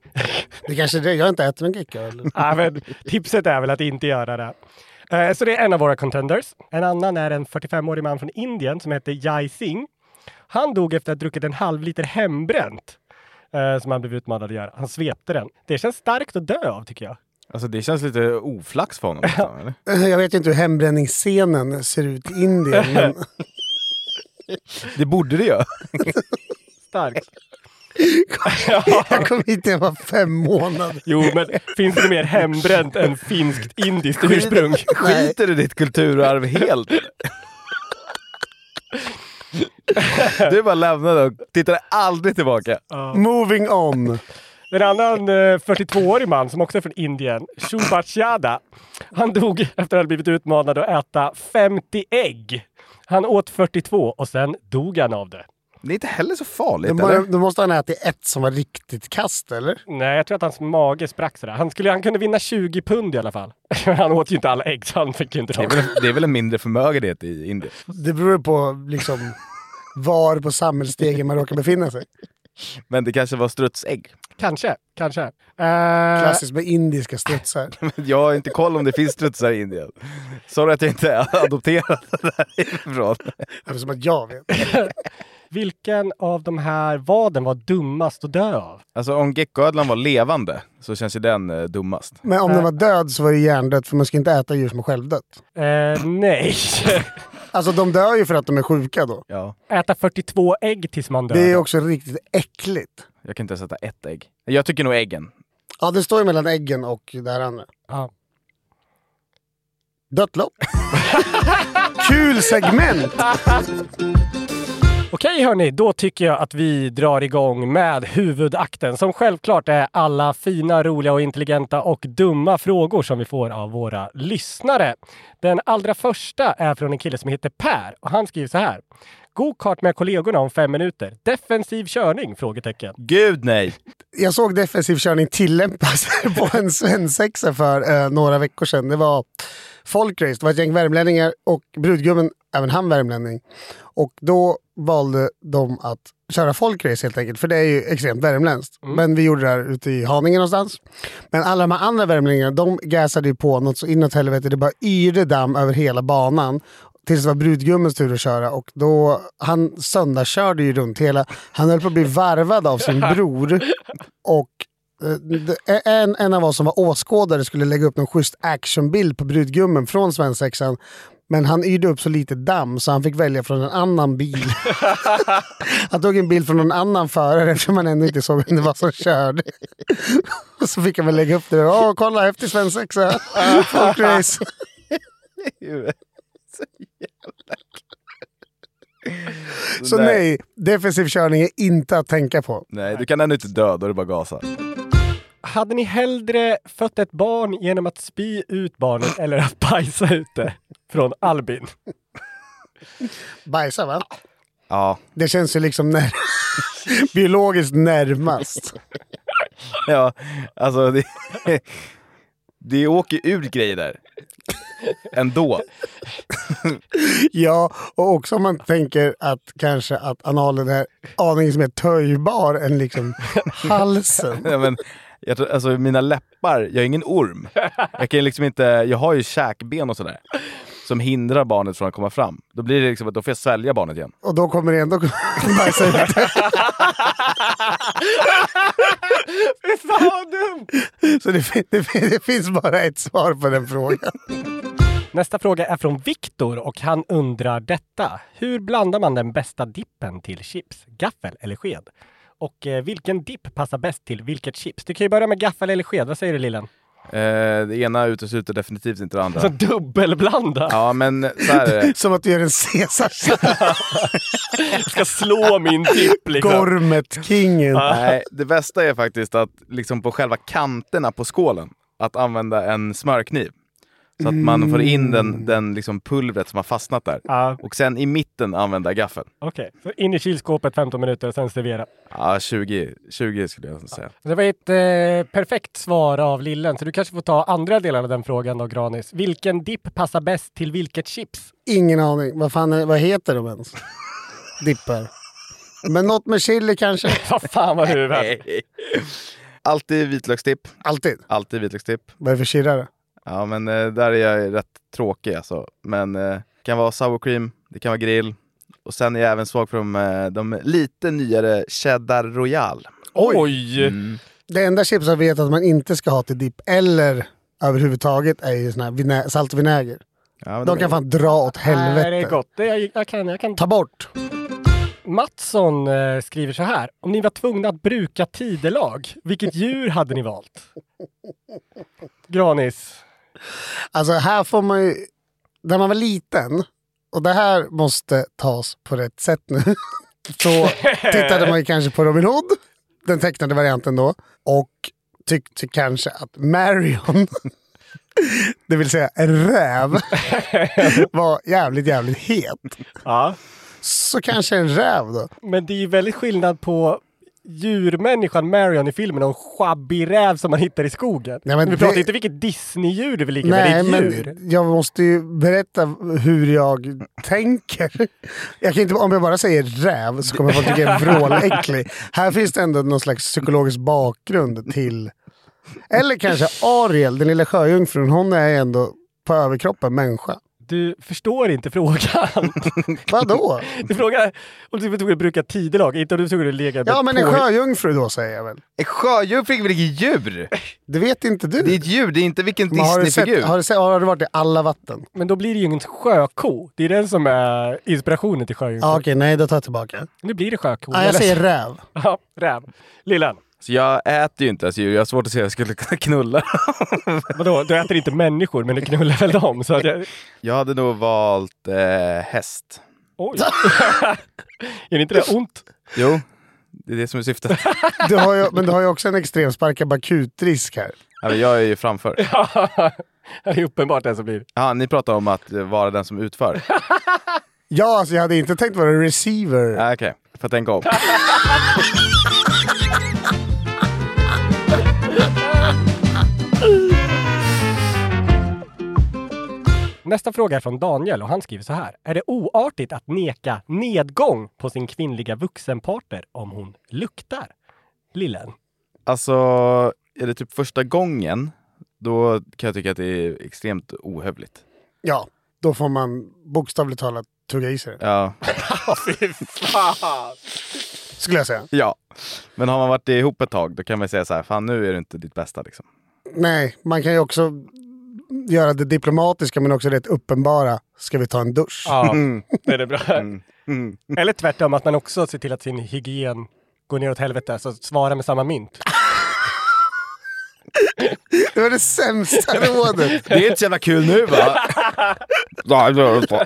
[SPEAKER 3] Det kanske är det. Jag har inte ätit någon geckoöl.
[SPEAKER 1] Ah, men, tipset är väl att inte göra det. Eh, så det är en av våra contenders. En annan är en 45-årig man från Indien som heter Jai Singh. Han dog efter att ha druckit en halv liter hembränt eh, som han blev utmanad att göra. Han svepte den. Det känns starkt att dö av tycker jag.
[SPEAKER 2] Alltså det känns lite oflax för honom. Liksom, eller?
[SPEAKER 3] Jag vet ju inte hur hembränningsscenen ser ut i Indien. Men
[SPEAKER 2] Det borde det ju.
[SPEAKER 1] Starkt.
[SPEAKER 3] jag kom hit när jag var fem månader.
[SPEAKER 1] Jo, men finns det mer hembränt än finskt indiskt ursprung?
[SPEAKER 2] Skiter du i ditt kulturarv helt? Du bara lämnade och tittade aldrig tillbaka.
[SPEAKER 3] Moving on.
[SPEAKER 1] En annan eh, 42-årig man som också är från Indien, Shubachada, han dog efter att ha blivit utmanad att äta 50 ägg. Han åt 42 och sen dog han av det.
[SPEAKER 2] Det är inte heller så farligt.
[SPEAKER 3] Då,
[SPEAKER 2] eller?
[SPEAKER 3] må- då måste han ha ätit ett som var riktigt kast eller?
[SPEAKER 1] Nej, jag tror att hans mage sprack sådär. Han, skulle, han kunde vinna 20 pund i alla fall. han åt ju inte alla ägg så han fick ju inte
[SPEAKER 2] Det
[SPEAKER 1] dem.
[SPEAKER 2] är, väl, det är väl en mindre förmögenhet i Indien?
[SPEAKER 3] Det beror på liksom var på samhällsstegen man råkar befinna sig.
[SPEAKER 2] Men det kanske var strutsägg.
[SPEAKER 1] Kanske, kanske. Eh,
[SPEAKER 3] Klassiskt med indiska strutsar.
[SPEAKER 2] Jag har inte koll om det finns strutsar i Indien. Sorry att jag inte har adopterat det därifrån.
[SPEAKER 3] Eftersom att jag vet.
[SPEAKER 1] vilken av de här vaden var dummast att dö av?
[SPEAKER 2] Alltså om geckoödlan var levande så känns ju den eh, dummast.
[SPEAKER 3] Men om den var död så var det hjärndött för man ska inte äta djur som är självdött.
[SPEAKER 1] Eh, nej.
[SPEAKER 3] Alltså de dör ju för att de är sjuka då.
[SPEAKER 2] Ja.
[SPEAKER 1] Äta 42 ägg tills man dör.
[SPEAKER 3] Det är också riktigt äckligt.
[SPEAKER 2] Jag kan inte ens äta ett ägg. Jag tycker nog äggen.
[SPEAKER 3] Ja, det står ju mellan äggen och det här andra.
[SPEAKER 1] Ja.
[SPEAKER 3] Dött lopp. Kul segment!
[SPEAKER 1] Okej hörni, då tycker jag att vi drar igång med huvudakten som självklart är alla fina, roliga och intelligenta och dumma frågor som vi får av våra lyssnare. Den allra första är från en kille som heter Per och han skriver så här. Go-kart med kollegorna om fem minuter. Defensiv körning? Frågetecken.
[SPEAKER 2] Gud nej!
[SPEAKER 3] Jag såg defensiv körning tillämpas på en svensexa för eh, några veckor sedan. Det var folkrace. Det var ett gäng värmlänningar och brudgummen, även han värmlänning. Och då valde de att köra folkrace helt enkelt, för det är ju extremt värmländskt. Men vi gjorde det här ute i Haninge någonstans. Men alla de här andra värmlänningarna, de gasade ju på något så inåt helvete. Det bara yrde damm över hela banan. Tills det var brudgummens tur att köra och då, han söndagskörde ju runt hela, han höll på att bli varvad av sin bror. Och eh, det- en, en av oss som var åskådare skulle lägga upp någon schysst actionbild på brudgummen från svensexan. Men han yrde upp så lite damm så han fick välja från en annan bil. han tog en bild från någon annan förare eftersom man ändå inte såg vem det var som körde. och så fick han väl lägga upp det. Åh, kolla, häftig svensexa! Folkrace! Så nej, defensiv körning är inte att tänka på.
[SPEAKER 2] Nej, du kan ännu inte dö, då är det bara gasa.
[SPEAKER 1] Hade ni hellre fött ett barn genom att spy ut barnet eller att bajsa ut det? Från Albin.
[SPEAKER 3] Bajsa va?
[SPEAKER 2] Ja.
[SPEAKER 3] Det känns ju liksom när... biologiskt närmast.
[SPEAKER 2] Ja, alltså det, det åker ur grejer där. Ändå.
[SPEAKER 3] Ja, och också om man tänker att kanske att analen är aningen mer töjbar än liksom halsen.
[SPEAKER 2] Ja, men, jag tror, alltså mina läppar, jag är ingen orm. Jag kan liksom inte, jag har ju käkben och sådär. Som hindrar barnet från att komma fram. Då blir det liksom att då får jag svälja barnet igen.
[SPEAKER 3] Och då kommer det ändå bajsa ut. Så det, fin- det, fin- det finns bara ett svar på den frågan.
[SPEAKER 1] Nästa fråga är från Viktor och han undrar detta. Hur blandar man den bästa dippen till chips? Gaffel eller sked? Och eh, vilken dipp passar bäst till vilket chips? Du kan ju börja med gaffel eller sked. Vad säger du Lillen?
[SPEAKER 2] Eh, det ena utesluter definitivt inte det andra.
[SPEAKER 1] Så dubbelblanda.
[SPEAKER 2] Ja, men så här är det.
[SPEAKER 3] Som att du gör en caesar
[SPEAKER 1] Jag ska slå min dipp liksom.
[SPEAKER 3] Gormet-kingen.
[SPEAKER 2] Nej, det bästa är faktiskt att liksom på själva kanterna på skålen, att använda en smörkniv. Så att man får in den, den liksom pulvret som har fastnat där.
[SPEAKER 1] Mm. Ja.
[SPEAKER 2] Och sen i mitten använda gaffeln.
[SPEAKER 1] Okej, så in i kylskåpet 15 minuter och sen servera.
[SPEAKER 2] Ja, 20, 20 skulle jag säga.
[SPEAKER 1] Det var ett eh, perfekt svar av Lillen, så du kanske får ta andra delen av den frågan då, Granis. Vilken dipp passar bäst till vilket chips?
[SPEAKER 3] Ingen aning. Vad, fan är, vad heter de ens? Dippar. Men något med chili kanske?
[SPEAKER 1] Vad fan vad du är
[SPEAKER 2] Alltid vitlökstipp.
[SPEAKER 3] Alltid.
[SPEAKER 2] Alltid vitlökstipp.
[SPEAKER 3] Vad är det för kirrare?
[SPEAKER 2] Ja, men eh, där är jag rätt tråkig alltså. Men eh, det kan vara sour cream, det kan vara grill. Och sen är jag även svag för de, eh, de lite nyare cheddar royal.
[SPEAKER 1] Oj!
[SPEAKER 3] Det enda chips jag vet att man inte ska ha till dipp eller överhuvudtaget är ju sån här vinä- salt och vinäger.
[SPEAKER 2] Ja, men
[SPEAKER 3] De kan fan dra åt helvete.
[SPEAKER 1] Nej, det är gott. Det, jag, jag kan, jag kan.
[SPEAKER 3] Ta bort.
[SPEAKER 1] Mattsson eh, skriver så här. Om ni var tvungna att bruka tidelag, vilket djur hade ni valt? Granis.
[SPEAKER 3] Alltså här får man ju... När man var liten, och det här måste tas på rätt sätt nu, så tittade man ju kanske på Robin Hood, den tecknade varianten då, och tyckte kanske att Marion, det vill säga en räv, var jävligt, jävligt het.
[SPEAKER 1] Ja.
[SPEAKER 3] Så kanske en räv då.
[SPEAKER 1] Men det är ju väldigt skillnad på djurmänniskan Marion i filmen och en sjabbig räv som man hittar i skogen.
[SPEAKER 3] Nej, men
[SPEAKER 1] vi pratar
[SPEAKER 3] det-
[SPEAKER 1] inte vilket Disney-djur det vill ligga
[SPEAKER 3] Nej,
[SPEAKER 1] med, det är ett djur.
[SPEAKER 3] men jag måste ju berätta hur jag tänker. Jag kan inte, om jag bara säger räv så kommer folk tycka jag är vråläcklig. Här finns det ändå någon slags psykologisk bakgrund till... Eller kanske Ariel, den lilla sjöjungfrun. Hon är ändå på överkroppen människa.
[SPEAKER 1] Du förstår inte frågan.
[SPEAKER 3] Vadå?
[SPEAKER 1] du frågar om du var tvungen att bruka tidelag, inte om du var tvungen att lägga med
[SPEAKER 3] Ja, men en
[SPEAKER 1] på-
[SPEAKER 3] sjöjungfru då säger jag väl.
[SPEAKER 2] En sjöjungfru är väl inget djur?
[SPEAKER 3] Det vet inte
[SPEAKER 2] Det är
[SPEAKER 3] du.
[SPEAKER 2] ett djur, det är inte vilken
[SPEAKER 3] Men har, du
[SPEAKER 2] Disney-figur.
[SPEAKER 3] sett, har, du sett, har du varit i alla vatten?
[SPEAKER 1] Men då blir det ju ingen sjöko. Det är den som är inspirationen till sjöjungfrun.
[SPEAKER 3] Ja, Okej, nej då tar jag tillbaka.
[SPEAKER 1] Nu blir det sjöko.
[SPEAKER 3] Mm. Ja, jag säger räv.
[SPEAKER 1] Ja, räv. Lillan,
[SPEAKER 2] Så jag äter ju inte ens djur, jag har svårt att se hur jag skulle kunna knulla.
[SPEAKER 1] vadå? Du äter inte människor, men du knullar väl dem? Så att jag...
[SPEAKER 2] jag hade nog valt eh, häst.
[SPEAKER 1] Oj! Är det inte det ont?
[SPEAKER 2] Jo, det är det som är syftet.
[SPEAKER 3] Du har ju, men du har ju också en extremsparkad bakutrisk här.
[SPEAKER 2] Ja, men jag är ju framför.
[SPEAKER 1] Det är uppenbart det som blir.
[SPEAKER 2] Ja, ni pratar om att eh, vara den som utför.
[SPEAKER 3] Ja, alltså jag hade inte tänkt vara receiver.
[SPEAKER 2] Ja, Okej, får tänka om.
[SPEAKER 1] Nästa fråga är från Daniel och han skriver så här. Är det oartigt att neka nedgång på sin kvinnliga vuxenpartner om hon luktar? Lillen.
[SPEAKER 2] Alltså, är det typ första gången, då kan jag tycka att det är extremt ohövligt.
[SPEAKER 3] Ja, då får man bokstavligt talat tugga i sig det,
[SPEAKER 2] Ja.
[SPEAKER 3] skulle jag säga.
[SPEAKER 2] ja. Men har man varit ihop ett tag, då kan man säga så här, fan nu är du inte ditt bästa liksom.
[SPEAKER 3] Nej, man kan ju också göra det diplomatiska men också rätt uppenbara. Ska vi ta en dusch?
[SPEAKER 1] Ja, det är det bra. Mm, Eller tvärtom, att man också ser till att sin hygien går ner åt helvete, så svara med samma mynt.
[SPEAKER 3] Det var det sämsta rådet.
[SPEAKER 2] Det är inte så jävla kul nu va? Nej, det är det inte.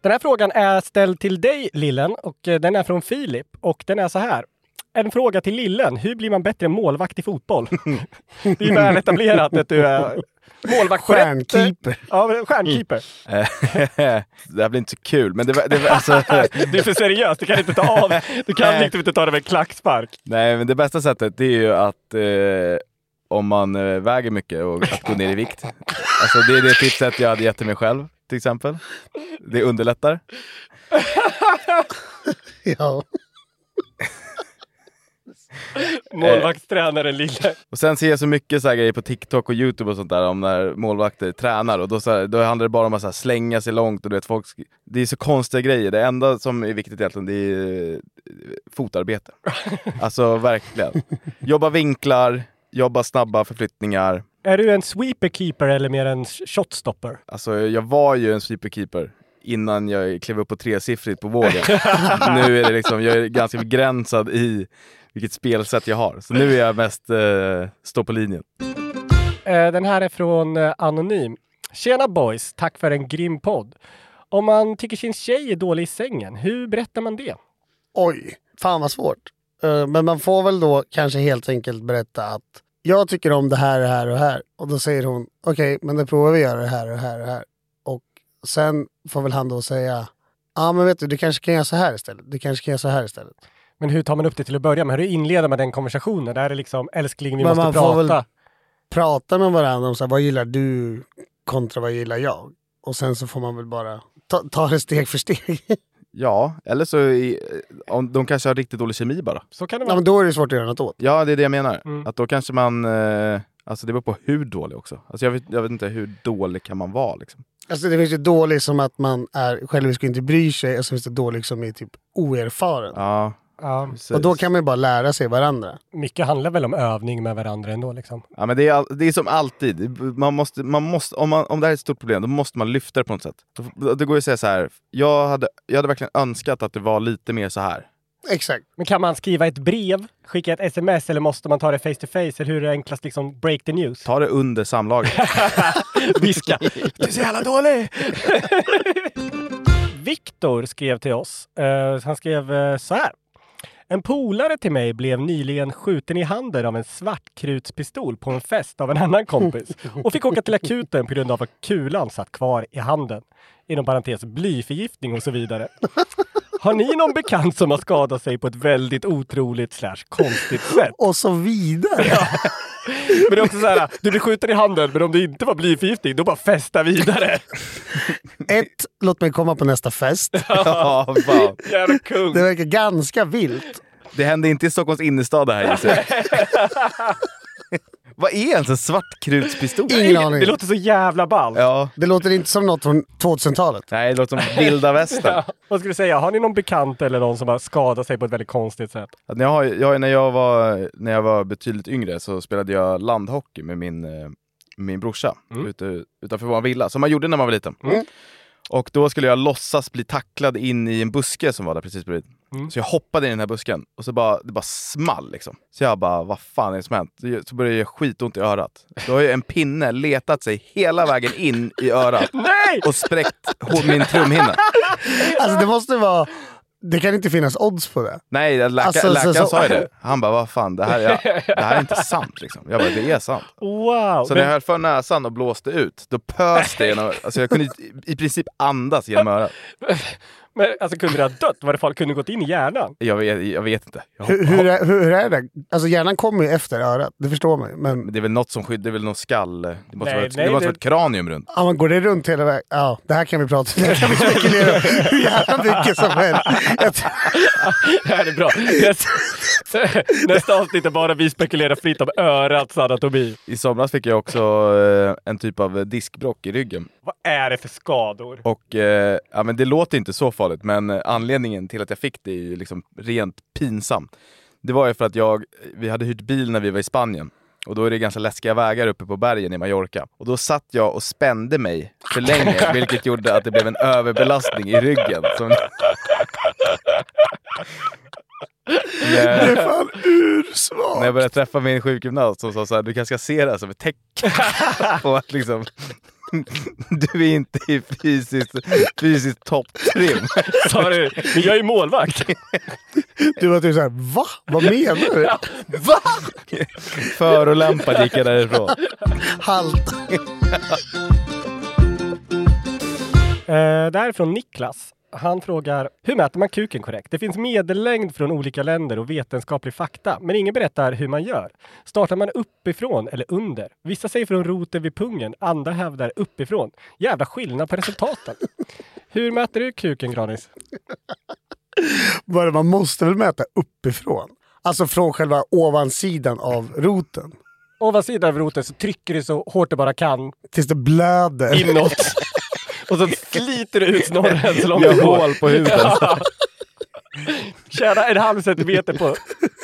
[SPEAKER 1] Den här frågan är ställd till dig, Lillen, och eh, den är från Filip. Och den är så här. En fråga till Lillen. Hur blir man bättre målvakt i fotboll? Det är väl etablerat att du är målvakt. på rätt- eh,
[SPEAKER 3] Stjärnkeeper.
[SPEAKER 1] Ja, men stjärnkeeper.
[SPEAKER 2] det här blir inte så kul, men det var, det var alltså...
[SPEAKER 1] Det är för seriöst. Du kan inte ta av. Du kan liksom inte ta det med en klackspark.
[SPEAKER 2] Nej, men det bästa sättet det är ju att eh, om man eh, väger mycket och att gå ner i vikt. Alltså det är det tipset jag hade gett till mig själv till exempel. Det underlättar.
[SPEAKER 3] Ja.
[SPEAKER 1] Målvaktstränaren Lille.
[SPEAKER 2] Och sen ser jag så mycket så här grejer på TikTok och YouTube och sånt där om när målvakter tränar och då, så här, då handlar det bara om att så här, slänga sig långt och du vet folk... sk- Det är så konstiga grejer. Det enda som är viktigt egentligen det är eh, fotarbete. Alltså verkligen. Jobba vinklar, jobba snabba förflyttningar.
[SPEAKER 1] Är du en sweeper-keeper eller mer en shotstopper?
[SPEAKER 2] Alltså jag var ju en superkeeper innan jag klev upp på tresiffrigt på vågen. nu är det liksom, jag är ganska begränsad i vilket spelsätt jag har. Så nu är jag mest eh, stå på linjen.
[SPEAKER 1] Eh, Den här är från eh, Anonym. Tjena boys, tack för en grym podd. Om man tycker sin tjej är dålig i sängen, hur berättar man det?
[SPEAKER 3] Oj, fan vad svårt. Eh, Men man får väl då kanske helt enkelt berätta att jag tycker om det här, det här och det här. Och då säger hon, okej, men då provar vi att göra det här och det här och det här. Och sen får väl han då säga, ja men vet du, du kanske kan göra så här istället. Du kanske kan göra så här istället.
[SPEAKER 1] Men hur tar man upp det till att börja med? Hur inleder man den konversationen? Där är det liksom älskling, vi
[SPEAKER 3] Men
[SPEAKER 1] måste
[SPEAKER 3] man får
[SPEAKER 1] prata.
[SPEAKER 3] väl- Prata med varandra om så här, vad gillar du kontra vad gillar jag? Och sen så får man väl bara ta, ta det steg för steg.
[SPEAKER 2] Ja, eller så i, eh, om, de kanske har riktigt dålig kemi bara.
[SPEAKER 1] Så kan det
[SPEAKER 3] ja,
[SPEAKER 1] vara.
[SPEAKER 3] men då är det svårt att göra något åt.
[SPEAKER 2] Ja, det är det jag menar.
[SPEAKER 1] Mm.
[SPEAKER 2] Att då kanske man... Eh, alltså det beror på hur dålig också. Alltså jag vet, jag vet inte, hur dålig kan man vara liksom?
[SPEAKER 3] Alltså det finns ju dålig som att man är självisk och inte bryr sig och så finns det dålig som är typ oerfaren.
[SPEAKER 2] Ja,
[SPEAKER 1] Ja,
[SPEAKER 2] precis.
[SPEAKER 3] Och då kan man ju bara lära sig varandra.
[SPEAKER 1] mycket handlar väl om övning med varandra ändå liksom.
[SPEAKER 2] Ja, men det, är, all- det är som alltid. Man måste, man måste, om, man, om det här är ett stort problem, då måste man lyfta det på något sätt. Då, då går det att säga så här. Jag hade, jag hade verkligen önskat att det var lite mer så här.
[SPEAKER 3] Exakt.
[SPEAKER 1] Men kan man skriva ett brev, skicka ett sms eller måste man ta det face to face? Eller hur är det enklast liksom break the news?
[SPEAKER 2] Ta det under samlaget.
[SPEAKER 1] Viska. Du är så jävla dålig! Viktor skrev till oss. Eh, han skrev eh, så här. En polare till mig blev nyligen skjuten i handen av en svartkrutspistol på en fest av en annan kompis och fick åka till akuten på grund av att kulan satt kvar i handen. Inom parentes blyförgiftning och så vidare. Har ni någon bekant som har skadat sig på ett väldigt otroligt slash konstigt sätt?
[SPEAKER 3] Och så vidare.
[SPEAKER 1] Men det är också så här, du blir skjuten i handen, men om det inte var blyförgiftning, då bara festa vidare.
[SPEAKER 3] Ett, låt mig komma på nästa fest.
[SPEAKER 2] ja, fan.
[SPEAKER 1] Jävla kung.
[SPEAKER 3] Det verkar ganska vilt.
[SPEAKER 2] Det hände inte i Stockholms innerstad det här gissar jag. Vad är ens en svartkrutspistol?
[SPEAKER 3] Ingen aning.
[SPEAKER 1] Det låter så jävla ballt.
[SPEAKER 2] Ja.
[SPEAKER 3] Det låter inte som något från 2000-talet.
[SPEAKER 2] Nej, det låter som vilda västern.
[SPEAKER 1] Vad skulle du säga, har ni någon bekant eller någon som har skadat sig på ett väldigt konstigt sätt?
[SPEAKER 2] Att när Jag har, jag, har- när, jag var, när jag var betydligt yngre så spelade jag landhockey med min, eh, med min brorsa ute, utanför vår villa, som man gjorde när man var liten. Och då skulle jag låtsas bli tacklad in i en buske som var där precis bredvid. Så jag hoppade in i den här busken och så bara, det bara small liksom. Så jag bara, vad fan är det som hänt? Så började jag skitont i örat. Då har ju en pinne letat sig hela vägen in i örat
[SPEAKER 1] Nej!
[SPEAKER 2] och spräckt hå- min trumhinna.
[SPEAKER 3] Alltså det måste vara... Det kan inte finnas odds på det.
[SPEAKER 2] Nej, läka,
[SPEAKER 3] Alltså, så-
[SPEAKER 2] läkaren
[SPEAKER 3] så-
[SPEAKER 2] sa ju det. Han bara, vad fan, det här, är, det här är inte sant liksom. Jag bara, det är sant.
[SPEAKER 1] Wow!
[SPEAKER 2] Så när
[SPEAKER 1] men,
[SPEAKER 2] jag höll för näsan och blåste ut, då pös det genom... Alltså jag kunde i, i princip andas genom örat.
[SPEAKER 1] men, alltså kunde det ha dött? Var det fall kunde gått in i hjärnan?
[SPEAKER 2] Jag vet, jag vet inte. Jag
[SPEAKER 3] Hur, hur, är, hur, hur är det? Alltså hjärnan kommer ju efter örat, det förstår man ju. Men
[SPEAKER 2] Men det är väl något som skyddar, det är väl någon skall... Det måste
[SPEAKER 1] Nej,
[SPEAKER 2] vara ett,
[SPEAKER 1] nej,
[SPEAKER 2] det måste
[SPEAKER 1] det-
[SPEAKER 2] vara ett kranium runt.
[SPEAKER 3] ja, man går det runt hela vägen? Ja, det här kan vi prata om. Det här kan vi spekulera om. hur jävla mycket som helst. Jag tror-
[SPEAKER 1] Det här är bra. Nästa- Nästa avsnitt är bara vi spekulerar fritt om örats anatomi.
[SPEAKER 2] I somras fick jag också eh, en typ av diskbrock i ryggen.
[SPEAKER 1] Vad är det för skador?
[SPEAKER 2] Och eh, ja, men det låter inte så farligt, men eh, anledningen till att jag fick det är ju liksom rent pinsam. Det var ju för att jag, vi hade hyrt bil när vi var i Spanien. Och då är det ganska läskiga vägar uppe på bergen i Mallorca. Och då satt jag och spände mig för länge, vilket gjorde att det blev en överbelastning i ryggen. Som...
[SPEAKER 3] Det är
[SPEAKER 2] När-
[SPEAKER 3] fan
[SPEAKER 2] När jag
[SPEAKER 3] ursvagt.
[SPEAKER 2] började träffa min sjukgymnast som sa såhär, du kanske ska se det här som ett tecken på att liksom, du är inte i fysiskt, fysiskt topptrim.
[SPEAKER 1] Sa du? Men jag är ju målvakt.
[SPEAKER 3] Du var typ såhär, va? Vad menar du?
[SPEAKER 2] Va? Förolämpad gick jag därifrån.
[SPEAKER 3] Halt.
[SPEAKER 1] Eh, det här är från Niklas. Han frågar, hur mäter man kuken korrekt? Det finns medellängd från olika länder och vetenskaplig fakta, men ingen berättar hur man gör. Startar man uppifrån eller under? Vissa säger från roten vid pungen, andra hävdar uppifrån. Jävla skillnad på resultaten. hur mäter du kuken, Granis?
[SPEAKER 3] Bara, man måste väl mäta uppifrån? Alltså från själva ovansidan av roten.
[SPEAKER 1] Ovansidan av roten så trycker du så hårt du bara kan
[SPEAKER 3] Tills det blöder.
[SPEAKER 1] inåt. och så sliter du ut snorren så långt
[SPEAKER 2] Jag
[SPEAKER 1] det
[SPEAKER 2] har
[SPEAKER 1] går.
[SPEAKER 2] hål på huden.
[SPEAKER 1] Tjäna en halv centimeter på...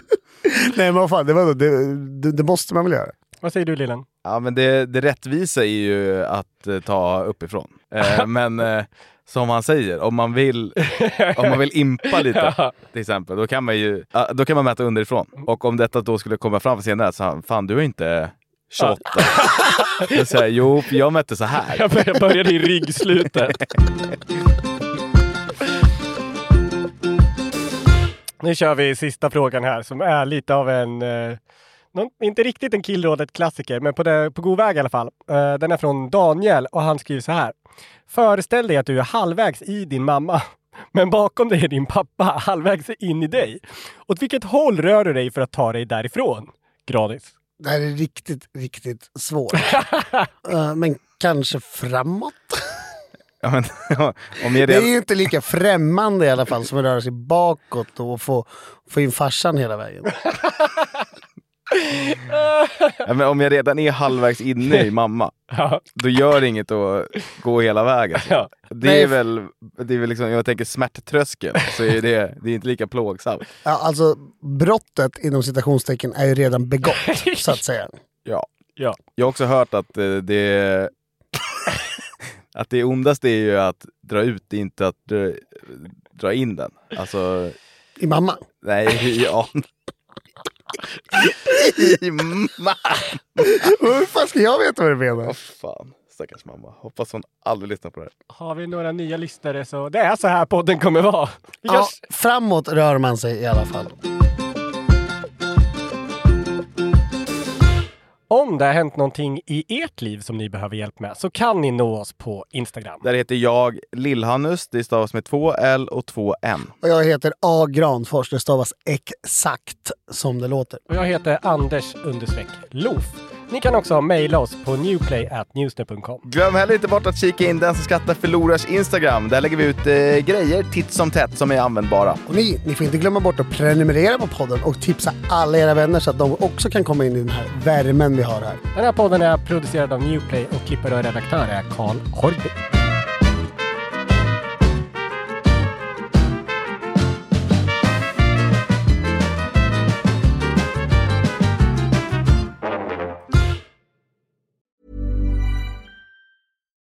[SPEAKER 3] Nej men vad fan, det, var, det, det, det måste man väl göra?
[SPEAKER 1] Vad säger du, Lillen?
[SPEAKER 2] Ja men det, det rättvisa är ju att eh, ta uppifrån. Eh, men eh, som han säger, om man vill, om man vill impa lite till exempel, då kan man ju ah, då kan man mäta underifrån. Och om detta då skulle komma fram senare, så han, fan du är inte 28. Då säger jag, jo för jag mätte så här.
[SPEAKER 1] Jag bör- jag började i ryggslutet. Nu kör vi sista frågan här som är lite av en... Eh, någon, inte riktigt en Killrådet-klassiker, men på, det, på god väg i alla fall. Eh, den är från Daniel och han skriver så här. Föreställ dig att du är halvvägs i din mamma, men bakom dig är din pappa halvvägs in i dig. Åt vilket håll rör du dig för att ta dig därifrån? Granis.
[SPEAKER 3] Det här är riktigt, riktigt svårt. Eh, men kanske framåt?
[SPEAKER 2] Ja, men, om jag
[SPEAKER 3] Det är
[SPEAKER 2] redan,
[SPEAKER 3] ju inte lika främmande i alla fall som att röra sig bakåt och få, få in farsan hela vägen.
[SPEAKER 2] ja, men om jag redan är halvvägs inne i mamma,
[SPEAKER 1] Ja.
[SPEAKER 2] då gör det inget att gå hela vägen.
[SPEAKER 1] Ja.
[SPEAKER 2] Det är väl, det är väl liksom, jag tänker smärttröskeln, så är det, det är inte lika plågsamt.
[SPEAKER 3] Ja, alltså brottet inom citationstecken är ju redan begått, så att säga.
[SPEAKER 2] Ja.
[SPEAKER 1] Ja.
[SPEAKER 2] Jag har också hört att eh, det att det ondaste är ju att dra ut, det är inte att eh, dra in den. Alltså,
[SPEAKER 3] I mamma.
[SPEAKER 2] nej, ja. I mamma!
[SPEAKER 3] Hur fan ska jag veta vad du menar?
[SPEAKER 2] Fan, stackars mamma. Hoppas hon aldrig lyssnar på det här.
[SPEAKER 1] Har vi några nya lyssnare så det är så här podden kommer vara. Vi
[SPEAKER 3] Ja,
[SPEAKER 1] kanske-
[SPEAKER 3] framåt rör man sig i alla fall.
[SPEAKER 1] Om det har hänt någonting i ert liv som ni behöver hjälp med så kan ni nå oss på Instagram.
[SPEAKER 2] Där heter jag Lillhannus, det stavas med två L och två N.
[SPEAKER 3] Och jag heter A. Granfors. Det stavas exakt som det låter.
[SPEAKER 1] Och jag heter Anders understreck Loof. Ni kan också mejla oss på newplay.newsnet.com.
[SPEAKER 2] Glöm heller inte bort att kika in Den som skrattar förlorars Instagram. Där lägger vi ut eh, grejer titt som tätt som är användbara.
[SPEAKER 3] Och ni, ni får inte glömma bort att prenumerera på podden och tipsa alla era vänner så att de också kan komma in i den här värmen vi har här.
[SPEAKER 1] Den här podden är producerad av Newplay och klippare och redaktör är Karl Horby.